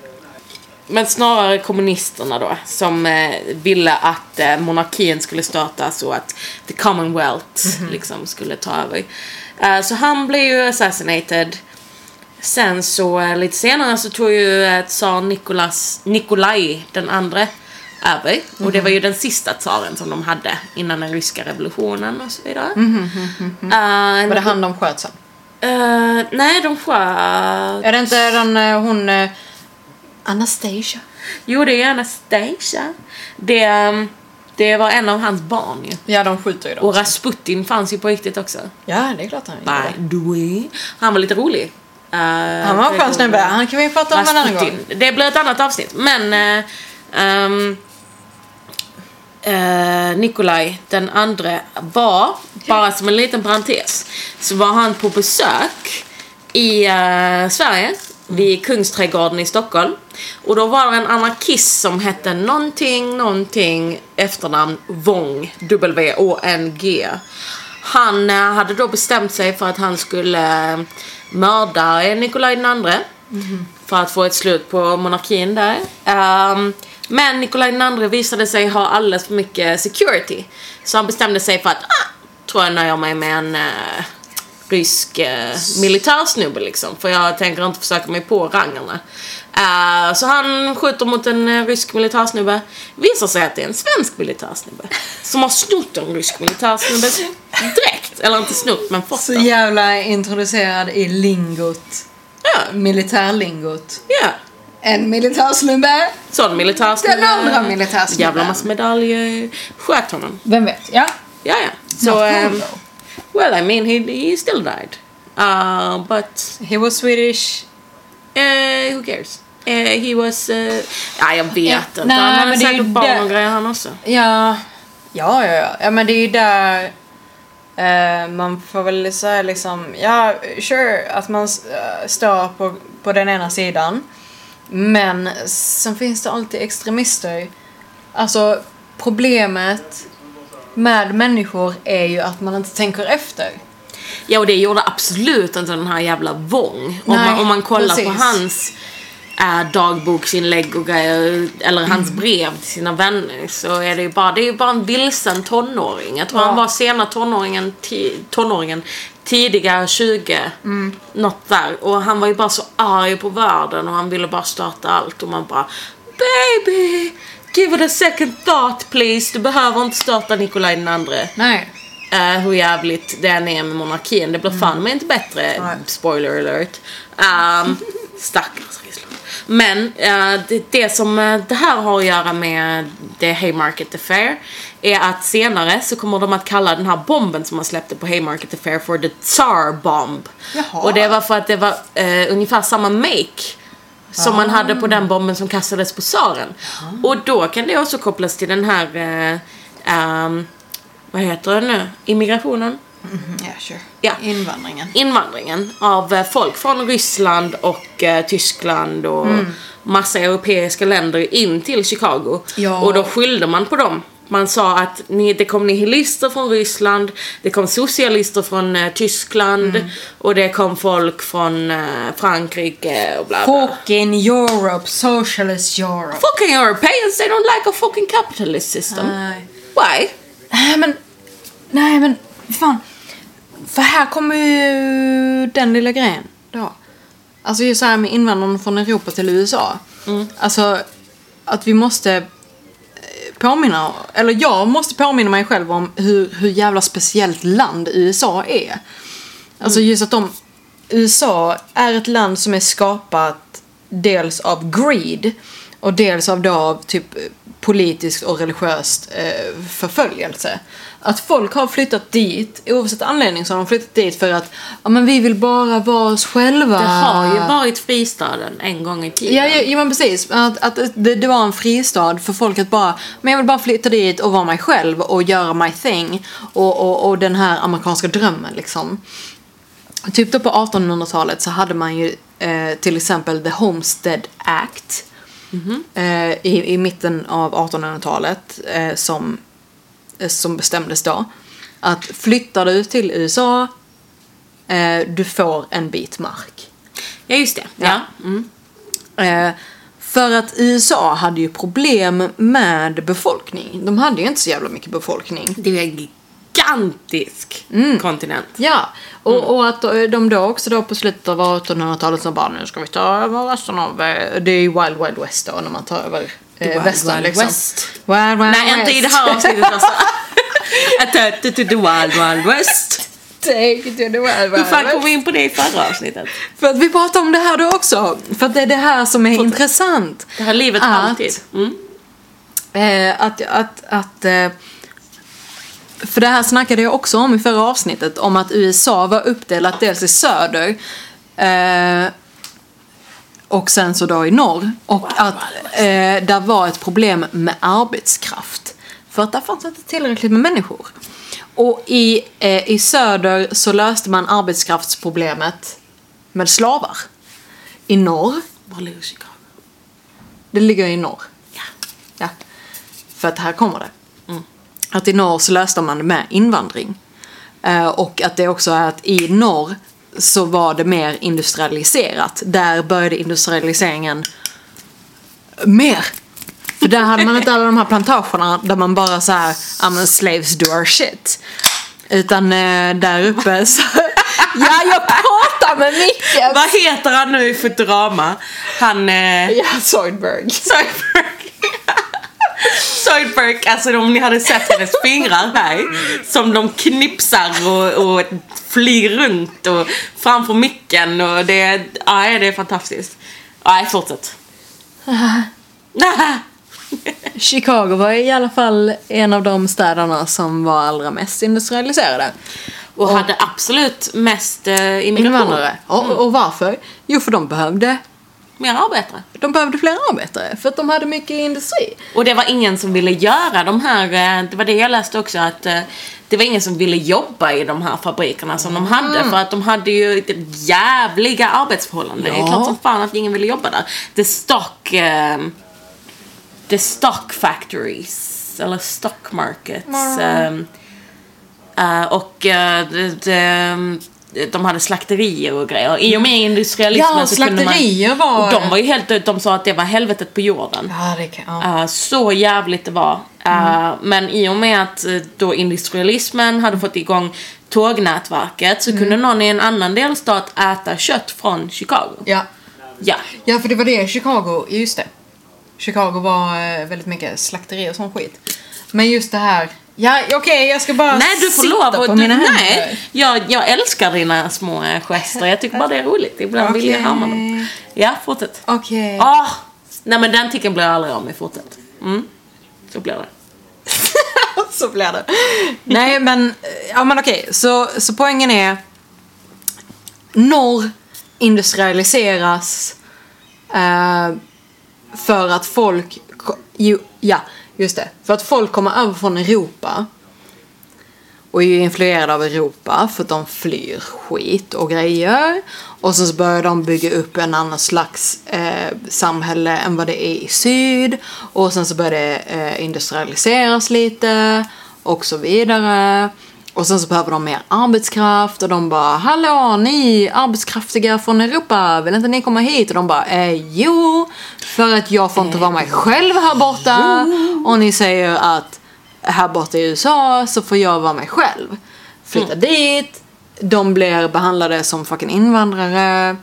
Men snarare kommunisterna då, som eh, ville att eh, monarkin skulle startas och att the
Mhm.
commonwealth liksom skulle ta över. Eh, så han blev ju assassinated. Sen så eh, lite senare så tog ju eh, tsar Nikolas, Nikolaj den andre över. Och det var
Mhm.
ju den sista tsaren som de hade innan den ryska revolutionen och så vidare.
Mhm,
Eh,
Var det han de sköt sen?
eh, nej, de sköt...
Är det inte den, eh, hon... eh, Anastasia?
Jo, det är ju Anastasia. Det, eh, det var en av hans barn ju.
Ja, de skjuter ju dem.
Och Rasputin fanns ju på riktigt också.
Ja, det är klart han gjorde.
By the way. Han var lite rolig. Eh,
Han var en skön snubbe. Han kan vi prata om en annan gång.
Rasputin. Det blir ett annat avsnitt. Men eh, ehm, eh, Nikolaj den andre var, bara som en liten parentes, så var han på besök i eh, Sverige
Mm.
vid Kungsträdgården i Stockholm. Och då var det en anarkist som hette någonting, någonting efternamn Wong, W-O-N-G. Han eh, hade då bestämt sig för att han skulle eh, mörda eh, Nikolaj den andre. För att få ett slut på monarkin där. Ehm, men Nikolaj den andre visade sig ha alldeles för mycket security. Så han bestämde sig för att, ah, tror jag nöjer mig med en eh, rysk eh, militärsnubbe liksom. För jag tänker inte försöka mig på rangarna. Eh, så han skjuter mot en eh, rysk militärsnubbe. Visar sig att det är en svensk militärsnubbe. Som har snott en rysk militärsnubbes dräkt. Eller inte snott men fått
Så
den.
jävla introducerad i lingot.
Ja,
Militärlingot.
ja.
En militärsnubbe.
Sån militärsnubbe.
Den andra militärsnubben.
Jävla massa medaljer. Sköt honom.
Vem vet? Ja.
Ja, ja. Så... ehm, well, I mean, he, he still died. Uh, but
He was Swedish.
Eh, who cares? Eh, he was... eh, ja, jag vet
Ja,
inte.
nej,
han hade
men det är ju
säkert barn
det-
och grejer han också.
Ja. Ja, ja, ja. ja men det är ju där eh, man får väl säga liksom, ja, sure, att man eh, står på, på den ena sidan. Men sen finns det alltid extremister. Alltså, problemet med människor är ju att man inte tänker efter.
Ja, och det gjorde absolut inte den här jävla Wong. Om,
Nej,
man, om man kollar på
precis.
hans eh, dagboksinlägg och grejer, eller hans
Mm.
brev till sina vänner, så är det ju bara, det är ju bara en vilsen tonåring. Jag tror
Ja.
han var sena tonåringen, ti, tonåringen tidiga 20,
Mm.
något där. Och han var ju bara så arg på världen och han ville bara starta allt och man bara Baby! Give it a second thought please. Du behöver inte starta Nikolaj den andre.
Nej.
Eh, hur jävligt det än är med monarkin. Det blir fan mig inte bättre.
Nej.
Spoiler alert. Um, stackars Ryssland. Men eh, det, det som eh, det här har att göra med The Haymarket Affair är att senare så kommer de att kalla den här bomben som man släppte på Haymarket Affair för The Tsar Bomb.
Jaha.
Och det var för att det var eh, ungefär samma make som man hade på den bomben som kastades på tsaren. Och då kan det också kopplas till den här, eh, ehm, vad heter det nu, immigrationen?
Mm, Ja, sure.
Ja.
Invandringen.
invandringen av eh, folk från Ryssland och eh, Tyskland och
Mm.
massa europeiska länder in till Chicago.
Ja.
Och då skyllde man på dem. Man sa att ni, det kom nihilister från Ryssland, det kom socialister från eh, Tyskland
Mm.
och det kom folk från eh, Frankrike och bla bla.
Fucking Europe, socialist Europe.
Fucking Europeans, they don't like a fucking capitalist system.
Nej.
Why?
Nej men, nej men, fan. För här kommer ju den lilla grejen då. Alltså just så här med invandrarna från Europa till USA. Alltså att vi måste eh, påminna, eller jag måste påminna mig själv om hur, hur jävla speciellt land USA är. Alltså
Mm.
just att de, USA är ett land som är skapat dels av greed och dels av då av typ politiskt och religiöst eh, förföljelse. Att folk har flyttat dit, oavsett anledning så har de flyttat dit för att ja men vi vill bara vara oss själva.
Det har ju varit fristaden en gång i tiden.
Ah. Ja, ja, ja men precis. Att, att det, det var en fristad för folk att bara, men jag vill bara flytta dit och vara mig själv och göra my thing. Och, och, och den här amerikanska drömmen liksom. Typ då på 1800-talet så hade man ju eh, till exempel The Homestead Act. eh, i, I mitten av 1800-talet eh, som, eh, som bestämdes då. Att flyttar du till USA, eh, du får en bit mark.
Ja, just det. Ja.
Eh, för att USA hade ju problem med befolkning. De hade ju inte så jävla mycket befolkning.
Det är ju en gigantisk
Mm.
kontinent.
Ja, och, och att eh, de då också då på slutet av 1800-talet som bara nu ska vi ta över resten av, eh, det är ju Wild Wild West då när man tar över eh,
Wild
västern
Wild
liksom.
West.
Wild Wild
Nej, inte i det här avsnittet alltså. Att äh, ta ut det till the wild wild west.
Take it to the Wild
Hur
Wild
fan kom
West.
vi in på det i förra avsnitet?
För att vi pratar om det här då också, för att det är det här som är intressant.
Det här livet
Att-
alltid. Mm.
Eh, att, att, att eh, för det här snackade jag också om i förra avsnittet, om att USA var uppdelat dels i söder eh, och sen så då i norr. Och att eh, där var ett problem med arbetskraft. För att där fanns inte tillräckligt med människor. Och i, eh, i söder så löste man arbetskraftsproblemet med slavar. I norr,
Var ligger Chicago?
det ligger i norr.
Ja. Mm.
Ja. För att här kommer det. Att i norr så löste man det med invandring. Eh, och att det också är att i norr så var det mer industrialiserat. Där började industrialiseringen mer. För där hade man inte alla de här plantagerna där man bara så här, "Ah, men slaves do our shit. Utan eh, där uppe så... ja, jag pratar med Micke!
Vad heter han nu i Futurama? Han... Eh...
Ja, Zoidberg.
Zoidberg. Zoidberg, alltså om ni hade sett hennes fingrar här som de knipsar och, och flyr runt och framför micken och det, nej, det är fantastiskt. Nej, fortsätt. Nej.
Chicago var i alla fall en av de städerna som var allra mest industrialiserade.
Och hade absolut mest eh, immigration.
Invandrare. Och, och varför? Jo, för de behövde,
Mer arbetare.
de behövde fler arbetare. För att de hade mycket industri.
Och det var ingen som ville göra de här, eh, det var det jag läste också att eh, det var ingen som ville jobba i de här fabrikerna som de hade
Mm.
för att de hade ju ett jävliga arbetsförhållanden. Det är
Ja.
klart som fan att ingen ville jobba där. The stock, eh, the stock factories eller stock markets. eh, eh, och eh, de, de, de hade slakterier och grejer. I och med industrialismen
Mm. Ja,
så alltså, kunde man...
slakterier var-
Och de var ju helt... De sa att det var helvetet på jorden.
Ja, det kan ja.
Eh, så jävligt det var. Eh,
Mm.
Men i och med att eh, då industrialismen hade fått igång tågnätverket så
Mm.
kunde någon i en annan delstat äta kött från Chicago.
ja.
Ja.
Ja, för det var det Chicago, just det. Chicago var eh, väldigt mycket slakteri och sån skit. Men just det här, ja okej jag ska bara
Nej, du får
sitta
lov
på
att... Du,
mina händer.
nej, jag, jag älskar dina små eh, gester. Jag tycker bara det är roligt. Ibland vill jag
Okej.
härma dem. Ja, fortsätt.
Okej.
Ah, nej men den ticken blir jag aldrig av med. Fortsätt. Mm. Så blir det.
så blir det. Nej men, ja men okej. Så, så poängen är. Norr industrialiseras. Eh, för att folk, ko- ju, ja just det. För att folk kommer över från Europa. Och är ju influerade av Europa för att de flyr skit och grejer. Och sen så börjar de bygga upp en annan slags eh, samhälle än vad det är i syd. Och sen så börjar det eh, industrialiseras lite och så vidare. Och sen så behöver de mer arbetskraft och de bara Hallå ni arbetskraftiga från Europa, vill inte ni komma hit? Och de bara eh, jo, för att jag får inte vara mig själv här borta. Och ni säger att här borta i USA så får jag vara mig själv. Flytta
Mm.
dit. De blir behandlade som fucking invandrare.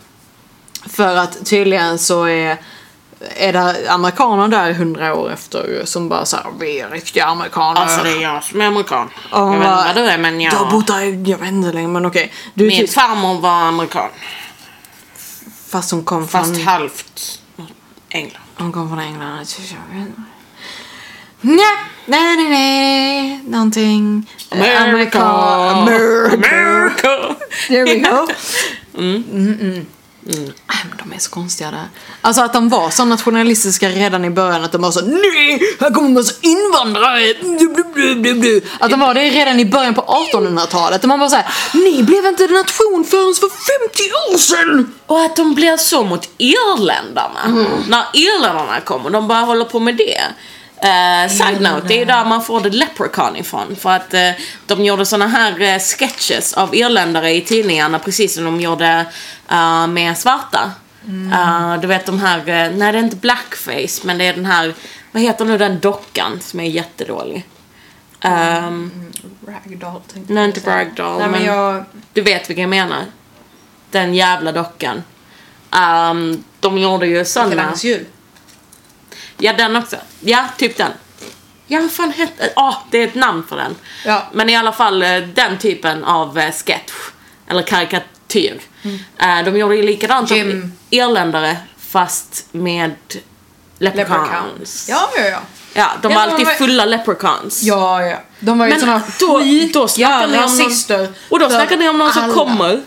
För att tydligen så är, är det amerikaner där hundra år efter som bara såhär, vi är riktiga amerikaner.
Alltså det är jag som är amerikan.
Och
jag
hon
vet inte
bara,
vad du är men
Ah. Du har
jag...
bott här, i- jag vet inte längre men okej. Du är
Min
typ,
farmor var amerikan.
fast hon kom
Fast
från,
halvt England.
hon kom från England. Jag vet inte. Nej, nej, nej, nej, någonting. Eh, Amerika. America.
America.
There we go. Mm, mm. Äh, men De är så konstiga där. Alltså att de var så nationalistiska redan i början att de var så nej, här kommer en massa invandrare. Du, du, du, du, du. Att de var det redan i början på 1800-talet. Och man bara såhär, ni blev inte en nation förrän för 50 år sedan.
Och att de blir så mot irländarna.
Mm.
När irländarna kommer, de bara håller på med det. Uh, side
Mm.
note, det är där man får The Leprechaun ifrån. För att eh, de gjorde såna här eh, sketches av irländare i tidningarna precis som de gjorde eh, med svarta.
Mm.
Eh, du vet de här, uh, nej det är inte blackface men det är den här, vad heter nu den dockan som är jättedålig? Eh,
Mm.
Ehm,
Ragdoll tänkte
nej,
jag
inte
säga.
Ragdoll,
Nej, men
men-
jag...
Du vet vilken jag menar? Den jävla dockan. Ehm, de gjorde ju såna...
Kalankas jul.
Ja, den också. Ja, typ den. Ja, vad fan hette... Ja, det är ett namn för den.
Ja.
Men i alla fall eh, den typen av eh, sketch. Eller karikatyr.
Mm.
Eh, De gjorde ju likadant som
Jim.
irländare fast med leprechauns.
Leprechauns. Ja, ja, ja.
Ja, de
Ja,
var
de
alltid
var-
fulla leprechauns.
Ja, ja. De var ju
Men
såna
då-
skit-
då snackar
jävla
ni om någon-
nazister
Och då
för
snackar ni om någon
alla. Mm.
som kommer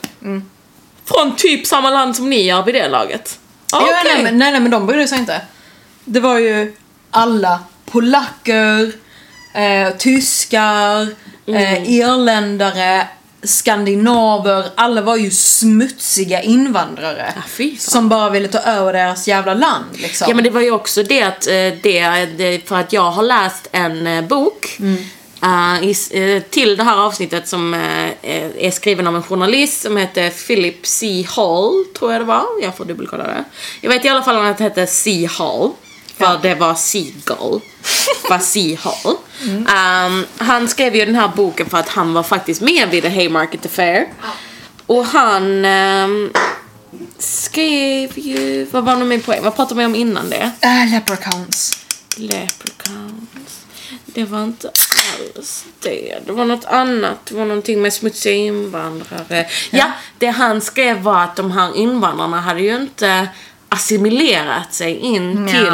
från typ samma land som ni gör vid det laget. Ah,
Ja,
okej.
nej, men, nej, nej, men de brydde sig inte. Det var ju alla polacker, eh, tyskar,
Mm.
eh, irländare, skandinaver. Alla var ju smutsiga invandrare.
Ja, Ah, fy fan.
som bara ville ta över deras jävla land liksom.
Ja men det var ju också det att eh, det, det för att jag har läst en eh, bok eh, i, s- eh, till det här avsnittet som eh, eh, är skriven av en journalist som heter Philip C. Hall, tror jag det var. Jag får dubbelkolla det. Jag vet i alla fall att det hette C. Hall. För det var Seagull. var C. Hall. Ehm, han skrev ju den här boken för att han var faktiskt med vid The Haymarket Affair. Och han ehm, skrev ju... Vad var nu min poäng? Vad pratade vi om innan det?
Äh, leprechauns.
Leprechauns. Det var inte alls det. Det var något annat. Det var någonting med smutsiga invandrare. Ja. det han skrev var att de här invandrarna hade ju inte assimilerat sig in
Nja.
till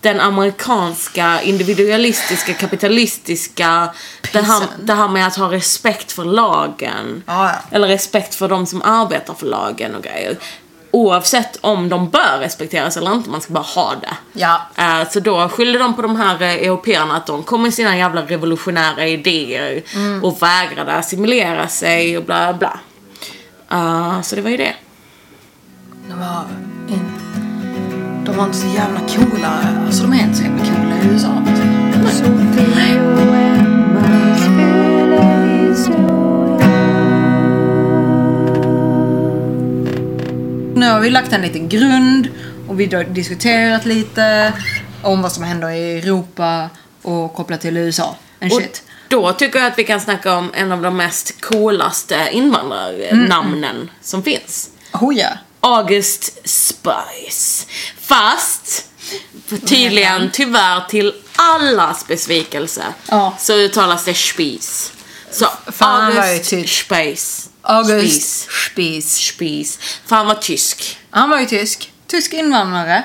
den amerikanska individualistiska kapitalistiska det här,
Pisen.
det här med att ha respekt för lagen
Ja, ja.
eller respekt för de som arbetar för lagen och grejer. Oavsett om de bör respekteras eller inte, man ska bara ha det.
Ja.
Eh, så då skyllde de på de här uh, européerna att de kom med sina jävla revolutionära idéer och vägrade assimilera sig och bla bla. Eh, så det var ju det.
De var, in... de var inte så jävla coola. Alltså de är inte så jävla coola i USA.
So feel when my spirit is sold
Nu har vi lagt en liten grund och vi har diskuterat lite om vad som händer i Europa och kopplat till USA. And
Och
shit.
då tycker jag att vi kan snacka om en av de mest coolaste invandrarnamnen som finns.
Oh ja.
August Spice. Fast tydligen tyvärr till allas besvikelse
Ja.
så uttalas det Spies. Så
fan, han var ju
August
tysk.
Spice.
August
Spies.
Spies.
Spies. För han var tysk.
Han var ju tysk. Tysk invandrare.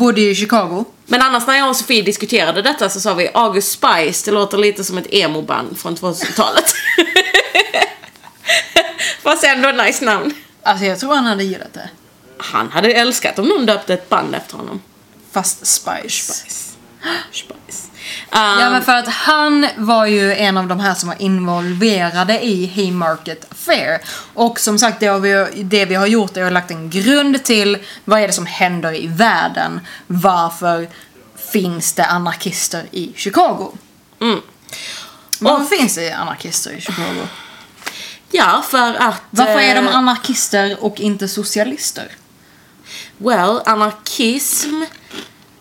Bodde i Chicago.
Men annars när jag och Sofie diskuterade detta så sa vi August Spice, det låter lite som ett emo-band från 2000-talet. Fast ändå ett nice namn.
Alltså jag tror han hade gillat det.
Han hade älskat om någon döpte ett band efter honom.
Fast Spice.
Spice. Spice.
Ja
Um,
men för att han var ju en av de här som var involverade i Haymarket Affair. Och som sagt, det, har vi, det vi har gjort är att lagt en grund till vad är det som händer i världen. Varför finns det anarkister i Chicago?
Mm.
Varför finns det anarkister i Chicago?
Ja, för att...
Varför är de
eh,
anarkister och inte socialister?
Well, anarkism...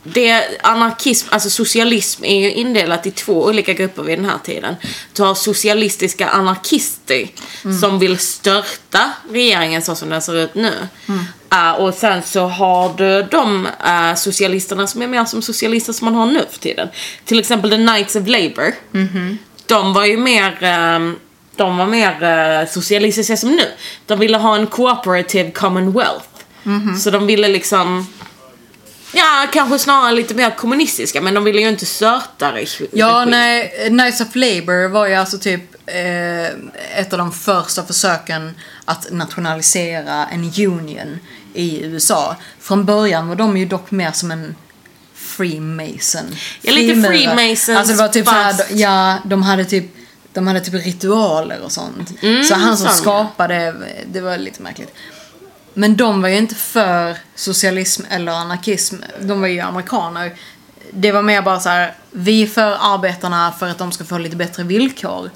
Det, anarkism, alltså socialism är ju indelat i två olika grupper vid den här tiden. Du har socialistiska anarkister som vill störta regeringen så som den ser ut nu. Eh, och sen så har du de eh, socialisterna som är mer som socialister som man har nu för tiden. Till exempel the Knights of Labour. De var ju mer, ehm, de var mer eh, socialistiska som nu. De ville ha en cooperative commonwealth. Så de ville liksom, ja kanske snarare lite mer kommunistiska men de ville ju inte störta regi-
Ja,
regimen.
nej, Knights of Labour var ju alltså typ eh, ett av de första försöken att nationalisera en union i USA. Från början var de ju dock mer som en freemason.
Ja, lite
Frimurare.
freemasons,
Alltså det var typ såhär,
fast-
ja, de hade typ de hade typ ritualer och sånt.
Mm,
så han som
sa de.
skapade, det var lite märkligt. Men de var ju inte för socialism eller anarkism. De var ju amerikaner. Det var mer bara så här: vi är för arbetarna för att de ska få lite bättre villkor.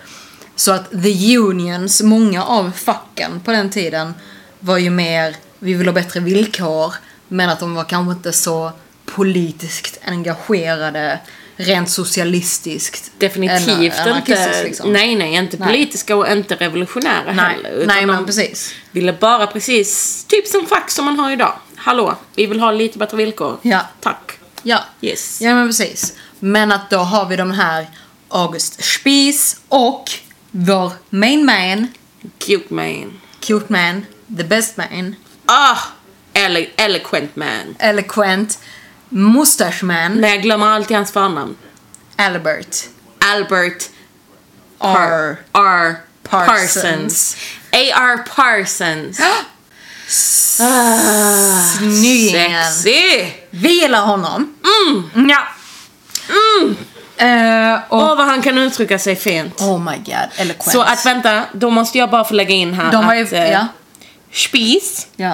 Så att the unions, många av facken på den tiden var ju mer, vi vill ha bättre villkor. Men att de var kanske inte så politiskt engagerade rent socialistiskt.
Definitivt
Eller anarkistiskt,
inte.
liksom.
Nej, nej, inte
Nej.
politiska och inte revolutionära heller.
Nej,
utan
nej men
de
precis.
ville bara precis, typ som fack som man har idag. Hallå, vi vill ha lite bättre villkor.
Ja.
Tack.
Ja.
Yes.
ja, men precis. Men att då har vi de här August Spies och vår main man,
Cute man.
cute man, the best man,
Ah! Ele- eloquent man.
eloquent, mustache man,
Men jag glömmer alltid hans förnamn.
Albert.
Albert
R.
R.
Parsons.
Parsons. A.R. Parsons.
Ah. Snyggingen.
Sexy!
Vi gillar honom. Mm. Ja.
Mm.
Eh, och,
Åh, vad han kan uttrycka sig fint.
oh my god, eloquent.
Så att vänta, då måste jag bara få lägga in här
de var ju,
att eh,
ja,
Spies,
ja.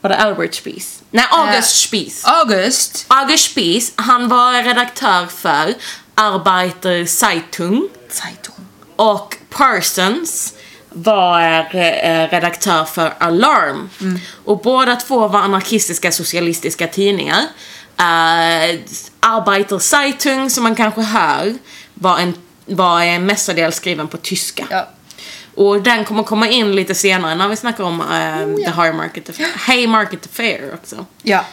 var det Albert Spies? Nej,
Eh,
August Spies.
August.
August Spies, han var redaktör för Arbeiter Zeitung
Zeitung.
och Parsons var eh, redaktör för Alarm.
Mm.
Och båda två var anarkistiska socialistiska tidningar. Eh, Arbeiter Zeitung, som man kanske hör, var, en, var eh, mestadels skriven på tyska.
Ja.
Och den kommer komma in lite senare när vi snackar om eh,
Oh,
The High Market Affair. Hey Market Affair också.
Ja.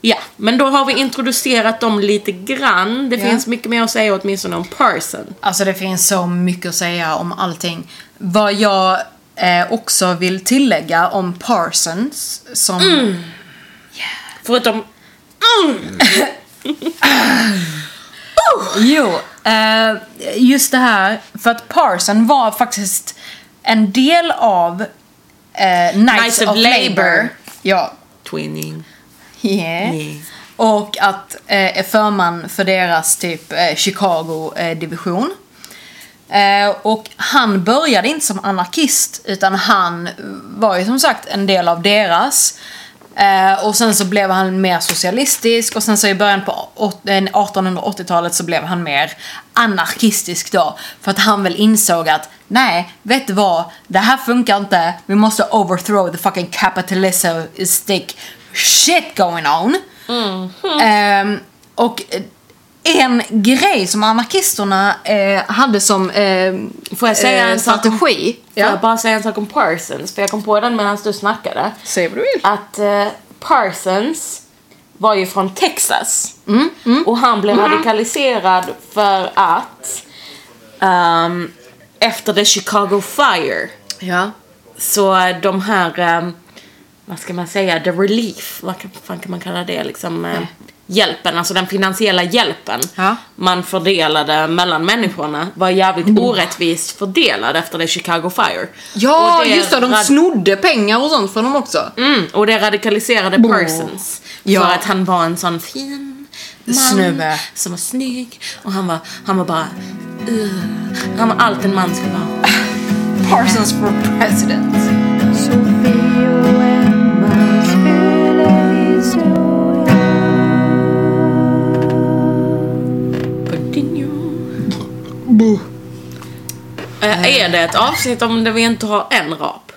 Ja, men då har vi introducerat dem lite grann. Det
Ja.
finns mycket mer att säga åtminstone om Parson.
Alltså det finns så mycket att säga om allting. Vad jag eh, också vill tillägga om Parsons som...
Mm. Förutom...
Jo, eh, just det här. För att Parson var faktiskt en del av eh, Knights,
Knights
of,
of
Labour.
Labour.
Ja.
Twinning.
Yeah.
Yeah.
Och att eh, är förman för deras typ eh, Chicago-division. Eh, och han började inte som anarkist utan han var ju som sagt en del av deras. Eh, och sen så blev han mer socialistisk och sen så i början på åt- eh, 1880-talet så blev han mer anarkistisk då. För att han väl insåg att nej, vet du vad? Det här funkar inte. Vi måste overthrow the fucking capitalistic shit going on. Ehm, och en grej som anarkisterna eh, hade som eh,
Får jag säga en sak om-
strategi.
Får jag bara säga en sak om Parsons? För jag kom på den medan du snackade.
Säg vad du vill.
Att eh, Parsons var ju från Texas.
Mm,
Och han blev radikaliserad för att ehm, efter the Chicago Fire
Ja.
Så eh, de här, eh, vad ska man säga, the relief, vad kan, fan kan man kalla det liksom? Eh, hjälpen, alltså den finansiella hjälpen
Ja.
man fördelade mellan människorna var jävligt
Mm.
orättvist fördelad efter det Chicago Fire.
Ja,
Och det
just det. De
rad-
snodde pengar och sånt från dem också.
Mm, och det radikaliserade Parsons.
Ja.
För att han var en sån fin man
Snubbe.
som var snygg och han var, han var bara, "Ugh." han var allt en man skulle vara.
Parsons for president.
Sofie och Emmas fyllehistoria.
Eh, är det ett avsnitt om det vi inte har en rap?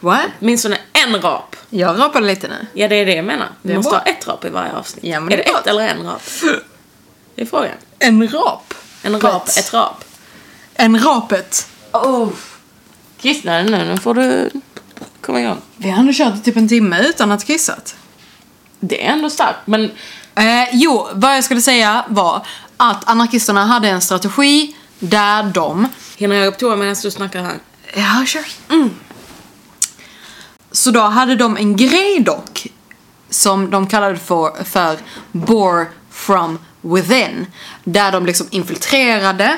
What?
Åtminstone en rap.
Jag rapade lite nu.
Ja, det är det jag menar. Vi
Det är
måste
bra.
ha ett rap i varje avsnitt.
Ja, men
är
det
det,
är klart.
ett eller en rap? Det är frågan.
En rap?
En rap, ett rap.
En rapet.
Oh. Kissna nu, nu får du komma igång.
Vi har ändå kört i typ en timme utan att kissat.
Det är ändå starkt, men
Eh, jo, vad jag skulle säga var att anarkisterna hade en strategi där de
hinner jag gå på toa medan du snackar här?
Ja, sure. Mm. Så då hade de en grej dock som de kallade för, för bore from within. Där de liksom infiltrerade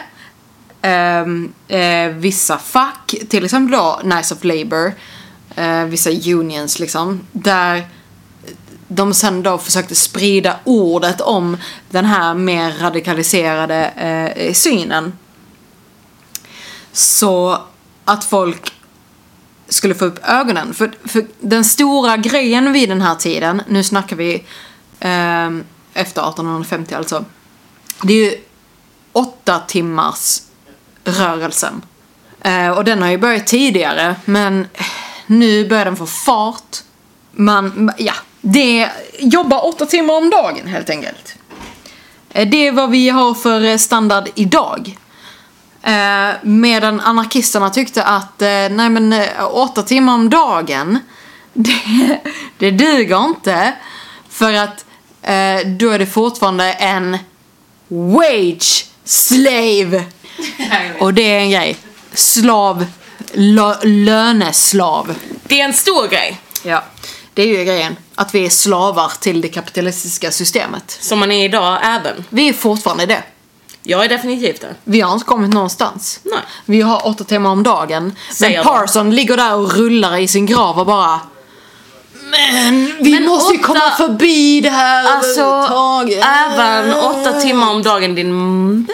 ehm, eh, vissa fack, till exempel då Knights of Labour, eh, vissa unions liksom. Där de sen då försökte sprida ordet om den här mer radikaliserade eh, synen. Så att folk skulle få upp ögonen. För, för den stora grejen vid den här tiden, nu snackar vi ehm, efter 1850 alltså. Det är ju åtta timmars rörelsen. Eh, och den har ju börjat tidigare men nu börjar den få fart. Man, ja, det jobbar åtta timmar om dagen helt enkelt. Eh, Det är vad vi har för eh, standard idag. Eh, medan anarkisterna tyckte att eh, nej men eh, åtta timmar om dagen det, det duger inte. För att eh, då är det fortfarande en wage slave. Och det är en grej. Slav, lö, löneslav.
Det är en stor grej.
Ja. Det är ju grejen. Att vi är slavar till det kapitalistiska systemet.
Som man är idag även.
Vi är fortfarande det.
Jag är definitivt det.
Vi har inte kommit någonstans.
Nej.
Vi har åtta timmar om dagen.
Säger
men
de.
Parson ligger där och rullar i sin grav och bara Men vi
Men
måste ju
åtta-
komma förbi det här
Alltså,
överhuvudtaget."
även
eh.
åtta timmar om dagen din mamma.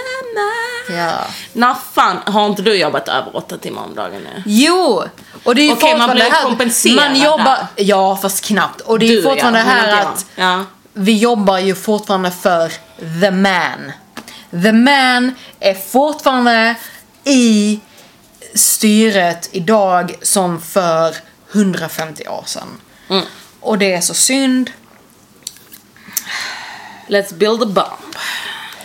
Ja.
När fan har inte du jobbat över åtta timmar om dagen nu?
Jo! Och det är ju
Okej, man
fortfarande
blir
det här-
kompenserad
Man jobbar...
där.
Ja, fast knappt. Och det är
Du,
ju fortfarande
ja,
det
men inte
här
jag.
att
Ja.
vi jobbar ju fortfarande för the man. The man är fortfarande i styret idag som för 150 år sedan.
Mm.
Och det är så synd.
Let's build a bomb.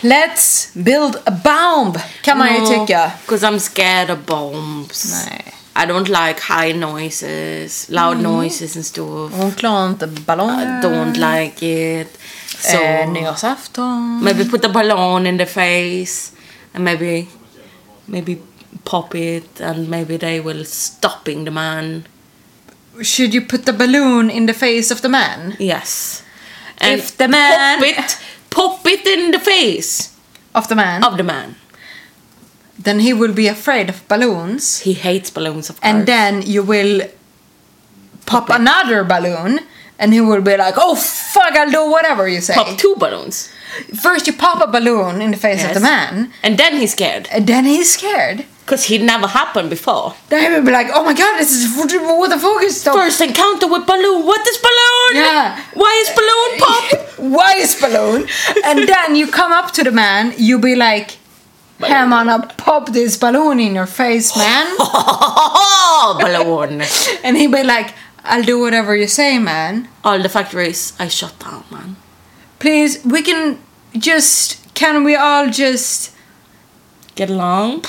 Let's build a bomb kan man ju tycka.
Cause I'm scared of bombs.
Nej. Mm.
I don't like high noises, loud noises and stuff.
Hon klarar inte
I
ballong.
don't like it. So
Eh, nyårsafton.
maybe put a balloon in the face and maybe maybe pop it and maybe they will stopping the man.
Should you put the balloon in the face of the man?
Yes.
If the man-
pop it, pop it in the face
Of the man?
of the man.
Then he will be afraid of balloons.
He hates balloons of course.
and then you will pop another balloon and he will be like oh fuck i'll do whatever you say
pop two balloons.
first you pop a balloon in the face of the
Yes.
man
And then he's scared.
and then he's scared
Cause he never happened before.
then he will be like oh my god this is what the fuck is stop
First encounter with balloon. What is balloon?
Yeah.
Why is balloon pop?
why is balloon and then you come up to the man you be like hey man i pop this balloon in your face man
Oh, balloon.
and he be like i'll do whatever you say man
All the factories I shut down, man.
please we can just can we all just
Get along.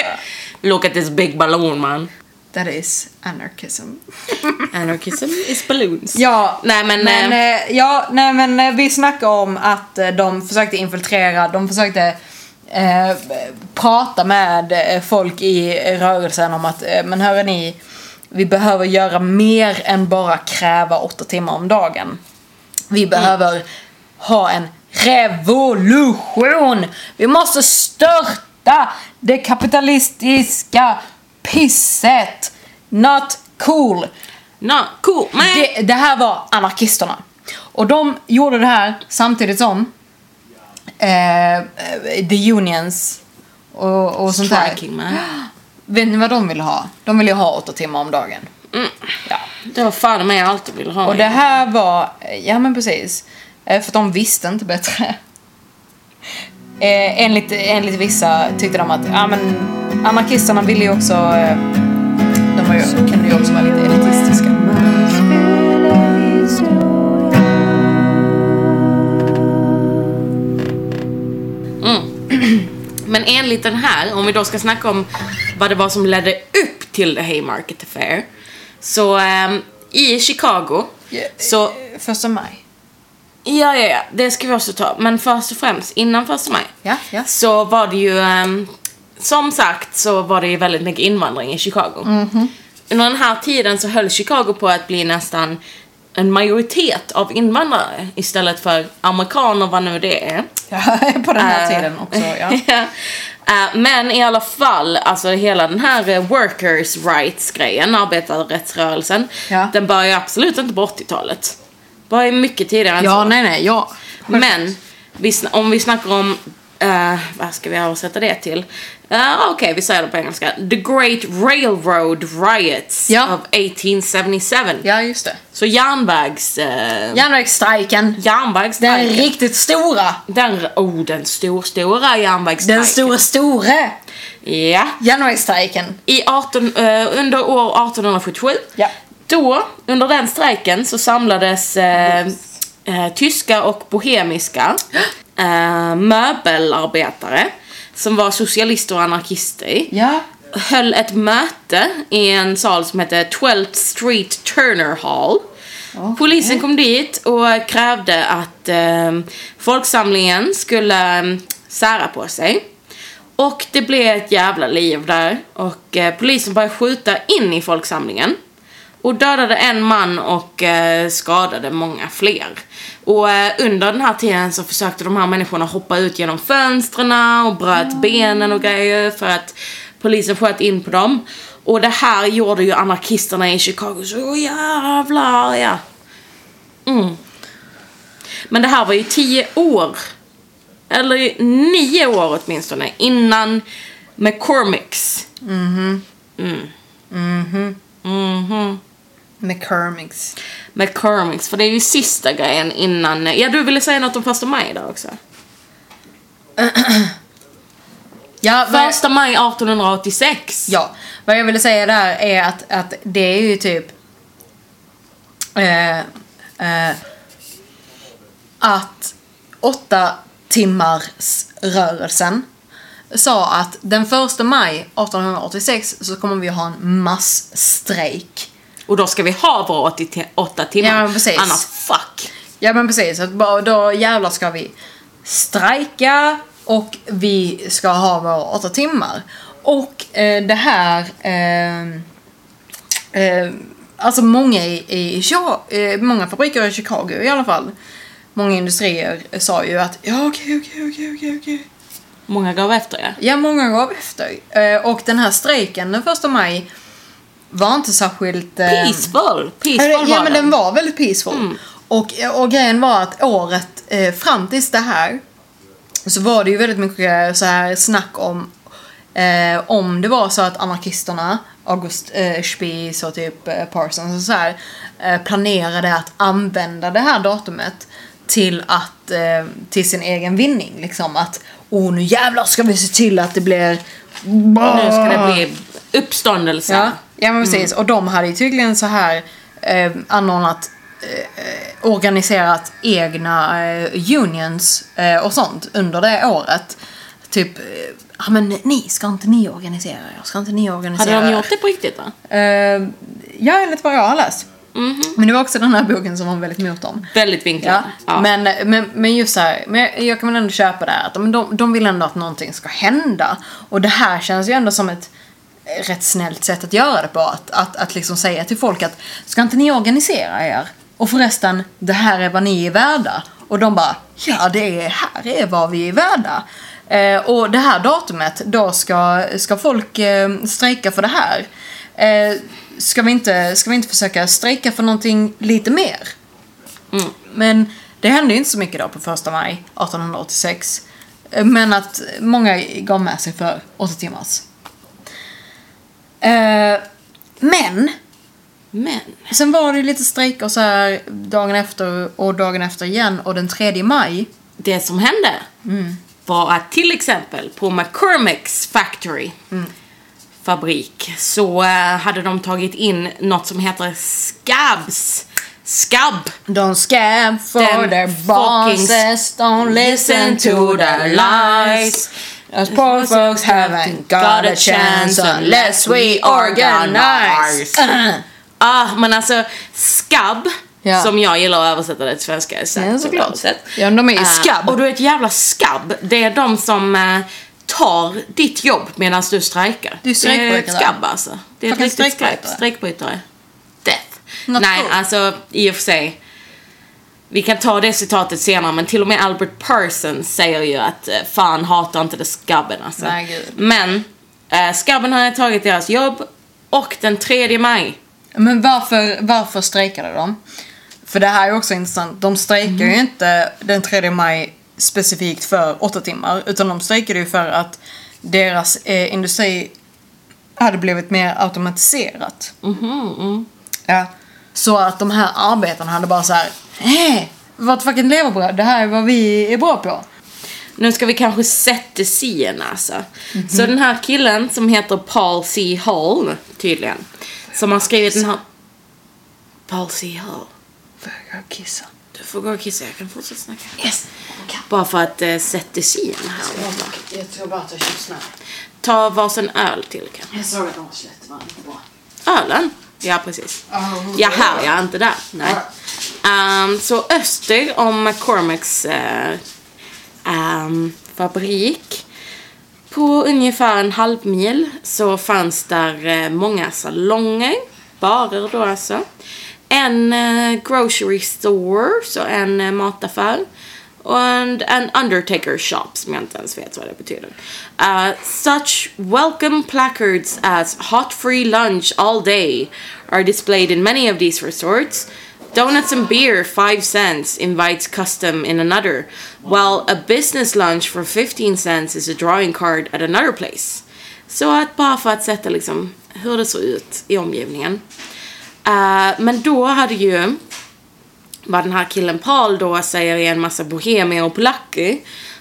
Look at this big balloon, man.
That is anarchism.
Anarchism is balloons.
Ja,
Nej, men,
men, eh, ja, nej, men eh, vi snackade om att eh, de försökte infiltrera, de försökte eh, prata med eh, folk i rörelsen om att, eh, men hörrni, ni, vi behöver göra mer än bara kräva åtta timmar om dagen. Vi behöver ha en revolution! Vi måste störta det kapitalistiska pisset! Not cool!
No, cool, man.
Det, det här var anarkisterna. Och de gjorde det här samtidigt som eh, eh, The Unions och, och sånt där.
Striking, man.
Vet ni vad de ville ha? De ville ju ha åtta timmar om dagen. Ja.
Det var fan med jag alltid ville ha.
Och det här var, ja men precis. Eh, För att de visste inte bättre. Eh, enligt, enligt vissa tyckte de att, ja men anarkisterna ville ju också, eh, de var ju, kunde ju också vara lite elitistiska.
Mm. Men enligt den här, om vi då ska snacka om vad det var som ledde upp till The Haymarket Affair. Så ehm, i Chicago, så
Första maj.
Ja, ja, ja. Det ska vi också ta. Men först och främst, innan första maj.
Ja, ja.
Så var det ju, ehm, som sagt, så var det ju väldigt mycket invandring i Chicago.
Mhm.
Under den här tiden så höll Chicago på att bli nästan en majoritet av invandrare istället för amerikaner, vad nu det är.
Ja, på den här
Eh,
tiden också, ja.
Eh, Men i alla fall, alltså hela den här eh, workers rights grejen, arbetarrättsrörelsen,
Ja.
den börjar absolut inte på 80-talet. Börjar mycket tidigare än så.
Ja, nej, nej, ja.
Men vi, sn- om vi snackar om, eh, vad ska vi översätta det till? Eh, Okej, vi säger det på engelska. The Great Railroad Riots
Ja.
of 1877.
Ja, just det.
Så järnvägs... Uh,
Järnvägsstrejken. Den
järnvägsstrejken.
riktigt stora.
Den, oh, den stor, stora järnvägsstrejken.
Den stora, store
Ja.
järnvägsstrejken.
I 18, eh, under år 1877.
Ja.
Då, under den strejken, så samlades eh, eh, tyska och bohemiska eh, möbelarbetare som var socialister och anarkister
Ja.
höll ett möte i en sal som hette 12th Street Turner Hall.
Okej.
Polisen kom dit och krävde att eh, folksamlingen skulle eh, sära på sig. Och det blev ett jävla liv där och eh, polisen började skjuta in i folksamlingen. Och dödade en man och eh, skadade många fler. Och eh, under den här tiden så försökte de här människorna hoppa ut genom fönstren och bröt benen och grejer för att polisen sköt in på dem. Och det här gjorde ju anarkisterna i Chicago så jävla arga. Mm. Men det här var ju tio år. Eller nio år åtminstone innan McCormicks. Mhm.
McCormicks.
McCormicks, för det är ju sista grejen innan... Ja, du ville säga något om första maj där också.
Ja, vad,
Första maj 1886.
ja, vad jag ville säga där är att, att det är ju typ... Eh, eh, att åtta timmars rörelsen sa att den första maj 1886 så kommer vi ha en massstrejk.
Och då ska vi ha våra 88 timmar.
Ja, men precis.
Annars fuck.
Ja men precis, att bara då jävlar ska vi strejka och vi ska ha våra åtta timmar. Och eh, det här, eh, eh, alltså många i, i Chi- eh, många fabriker i Chicago i alla fall, många industrier sa ju att ja okej okej okej okej okej.
Många gav efter ja.
Ja många gav efter. Eh, och den här strejken den första maj var inte särskilt... eh,
Peaceful.
Ja,
Peaceful Mm.
det- ja men
den.
den var väldigt peaceful. Och, och grejen var att året eh, fram tills det här så var det ju väldigt mycket så här snack om eh, om det var så att anarkisterna, August eh, Spies och typ eh, Parsons och så här eh, planerade att använda det här datumet till att eh, till sin egen vinning liksom att oh nu jävlar ska vi se till att det blir
Nu ska det bli uppståndelse.
Ja, ja men precis.
Mm.
Och de hade ju tydligen så här eh, anordnat eh, eh, organiserat egna eh, unions eh, och sånt under det året. Typ, eh, ja men ni, ska inte ni organisera er? Ska inte ni organisera
Hade de
er?
gjort det på riktigt då?
Eh, ja, enligt vad jag har läst.
Mhm.
Men det var också den här boken som var väldigt mot dem.
Väldigt vinklat.
Ja, Men, men, men just så här, men jag, jag kan väl ändå köpa det här, att de, de, de vill ändå att någonting ska hända. Och det här känns ju ändå som ett eh, rätt snällt sätt att göra det på. Att, att, att liksom säga till folk att ska inte ni organisera er? Och förresten, det här är vad ni är värda. Och de bara, ja det är, här är vad vi är värda. Eh, och det här datumet, då ska, ska folk eh, strejka för det här. Eh, ska, vi inte, ska vi inte försöka strejka för någonting lite mer? Men det hände ju inte så mycket då på första maj 1886. Men att många gav med sig för 8 timmars. Eh, Men,
men.
sen var det ju lite strejk och så här dagen efter och dagen efter igen och den 3 maj.
Det som hände
Mm.
var att till exempel på McCormick's Factory
Mm.
fabrik så eh, hade de tagit in något som heter scabs. Scab.
Don't scab for
Den
their
fucking
bosses, don't listen to their lies. Us poor folks haven't got a chance unless we organize.
Ah, men alltså skabb,
Ja.
som jag gillar att översätta det till svenska. är säkert
Ja,
ett
såklart.
bra sätt.
Ja, de är ju
Eh,
skabb.
Och du är ett jävla skabb. Det är de som eh, tar ditt jobb medan du strejkar.
Du är
Det är ett
strejkbrytare.
skabb alltså. Det är ett
Fucking
riktigt skabb.
strejkbrytare.
Strejkbrytare. Death.
Not
Nej,
cool.
alltså i och för sig. Vi kan ta det citatet senare men till och med Albert Parsons säger ju att eh, fan hatar inte det skabben alltså.
Nej, gud.
Men eh, skabben hade tagit deras jobb och den 3 maj
Men varför, varför strejkade de? För det här är också intressant. De strejkar ju inte den 3 maj specifikt för åtta timmar. Utan de strejkade ju för att deras eh, industri hade blivit mer automatiserat. Mhm, Ja. Så att de här arbetarna hade bara så här. Hey, vårt fucking levebröd, det här är vad vi är bra på.
Nu ska vi kanske sätta scenen alltså. Så den här killen som heter Paul C. Hall, tydligen. Som har skrivit den här... Paul C. Hall.
Får jag gå och kissa?
Du får gå och kissa, jag kan fortsätta snacka.
Yes!
Bara för att eh, sätta scenen här.
Jag tror bara att jag kyssnar.
Ta varsin öl till kan.
Jag såg att de var slut, var inte bra.
Ölen? Ja, precis. Ja, här ja, inte där. Nej. Ehm, så öster om McCormicks eh, ehm, fabrik på ungefär en halv mil så fanns där eh, många salonger, barer då alltså. En eh, grocery store, så en eh, mataffär. Och en, en undertaker shop som jag inte ens vet vad det betyder. Eh, such welcome placards as hot free lunch all day are displayed in many of these resorts. Donuts and beer, 5 cents, invites custom in another, while a business lunch for 15 cents is a drawing card at another place. Så att bara för att sätta liksom hur det såg ut i omgivningen. Eh, men då hade ju vad den här killen Paul då säger är en massa bohemier och polacker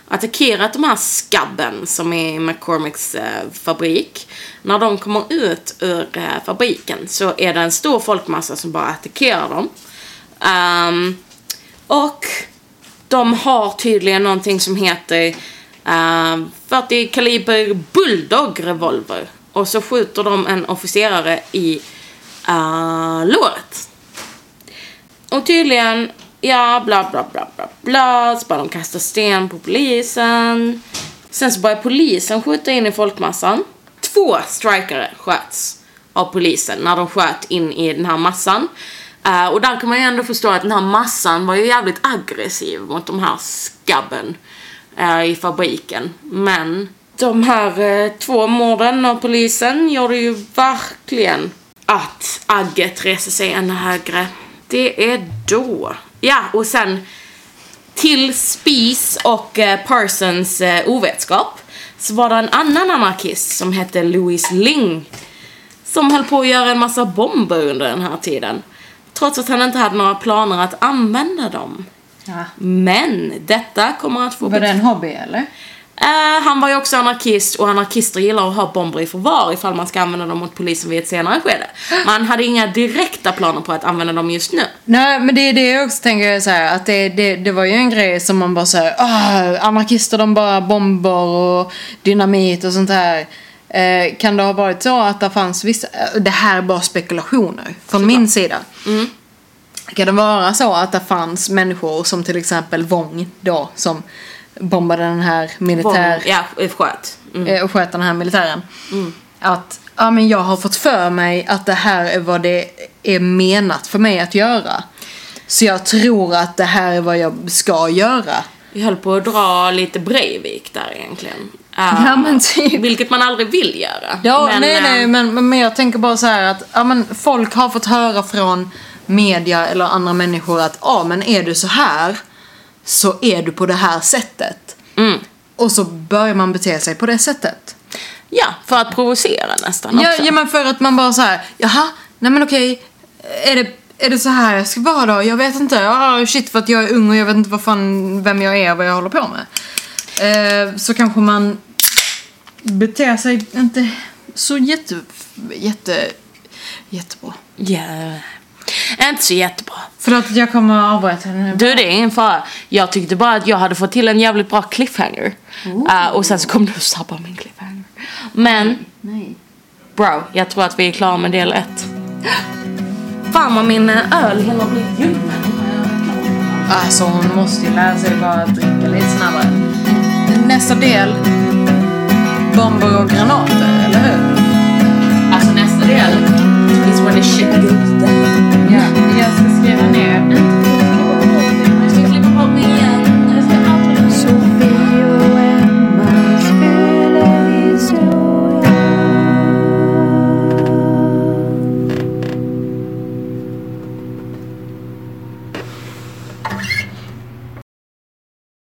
attackerat de här skabben som är i McCormicks eh, fabrik. När de kommer ut ur eh, fabriken så är det en stor folkmassa som bara attackerar dem. Ehm, och de har tydligen någonting som heter eh, 40 kaliber Bulldog revolver. Och så skjuter de en officerare i eh, låret. Och tydligen, ja bla bla bla bla bla. Så bara de kastar sten på polisen. Sen så börjar polisen skjuta in i folkmassan. Två strikare sköts av polisen när de sköt in i den här massan. Eh, och där kan man ju ändå förstå att den här massan var ju jävligt aggressiv mot de här skabben eh, i fabriken. Men de här eh, två morden av polisen gjorde ju verkligen att agget reser sig ännu högre. Det är då. Ja, och sen till Spies och eh, Parsons eh, ovetskap så var det en annan anarkist som hette Louis Ling som höll på att göra en massa bomber under den här tiden. Trots att han inte hade några planer att använda dem.
Ja.
Men detta kommer att få
Var det en hobby eller?
Eh, han var ju också anarkist och anarkister gillar att ha bomber i förvar ifall man ska använda dem mot polisen vid ett senare skede. Man hade inga direkta planer på att använda dem just nu.
Nej, men det är det jag också tänker så här, att det, det, det var ju en grej som man bara såhär, ah, anarkister de bara bomber och dynamit och sånt här. Eh, kan det ha varit så att det fanns vissa, eh, det här är bara spekulationer från min sida. Kan det vara så att det fanns människor som till exempel Wong då, som bombade den här militär...
Bomber, ja, eh, sköt. Mm.
eh, och sköta den här militären. Att ja, men jag har fått för mig att det här är vad det är menat för mig att göra. Så jag tror att det här är vad jag ska göra.
Vi höll på att dra lite Breivik där egentligen. Eh,
Ja, men typ.
Vilket man aldrig vill göra.
Ja, nej,
eh,
nej, men, men- men jag tänker bara så här att ja, men folk har fått höra från media eller andra människor att ja, men är du så här så är du på det här sättet.
mm.
Och så börjar man bete sig på det sättet.
Ja, för att provocera nästan
Ja,
också.
ja men för att man bara så här, jaha, nej men okej, är det, är det så här jag ska vara då? Jag vet inte, ah, shit för att jag är ung och jag vet inte vad fan, vem jag är och vad jag håller på med. Eh, så kanske man beter sig inte så jätte, jätte, jättebra.
Ja. Inte så jättebra.
Förlåt att jag kommer att avbryta den här.
Du, det är ingen fara. Jag tyckte bara att jag hade fått till en jävligt bra cliffhanger. Eh, och sen så kom du och sabbade min cliffhanger. Men,
Nej.
bro, jag tror att vi är klara med del ett. Fan vad min eh, öl hinner bli ljummen.
Alltså hon måste ju lära sig bara att dricka lite snabbare. Nästa del, bomber och granater, eller hur?
Alltså nästa del is when the shit goes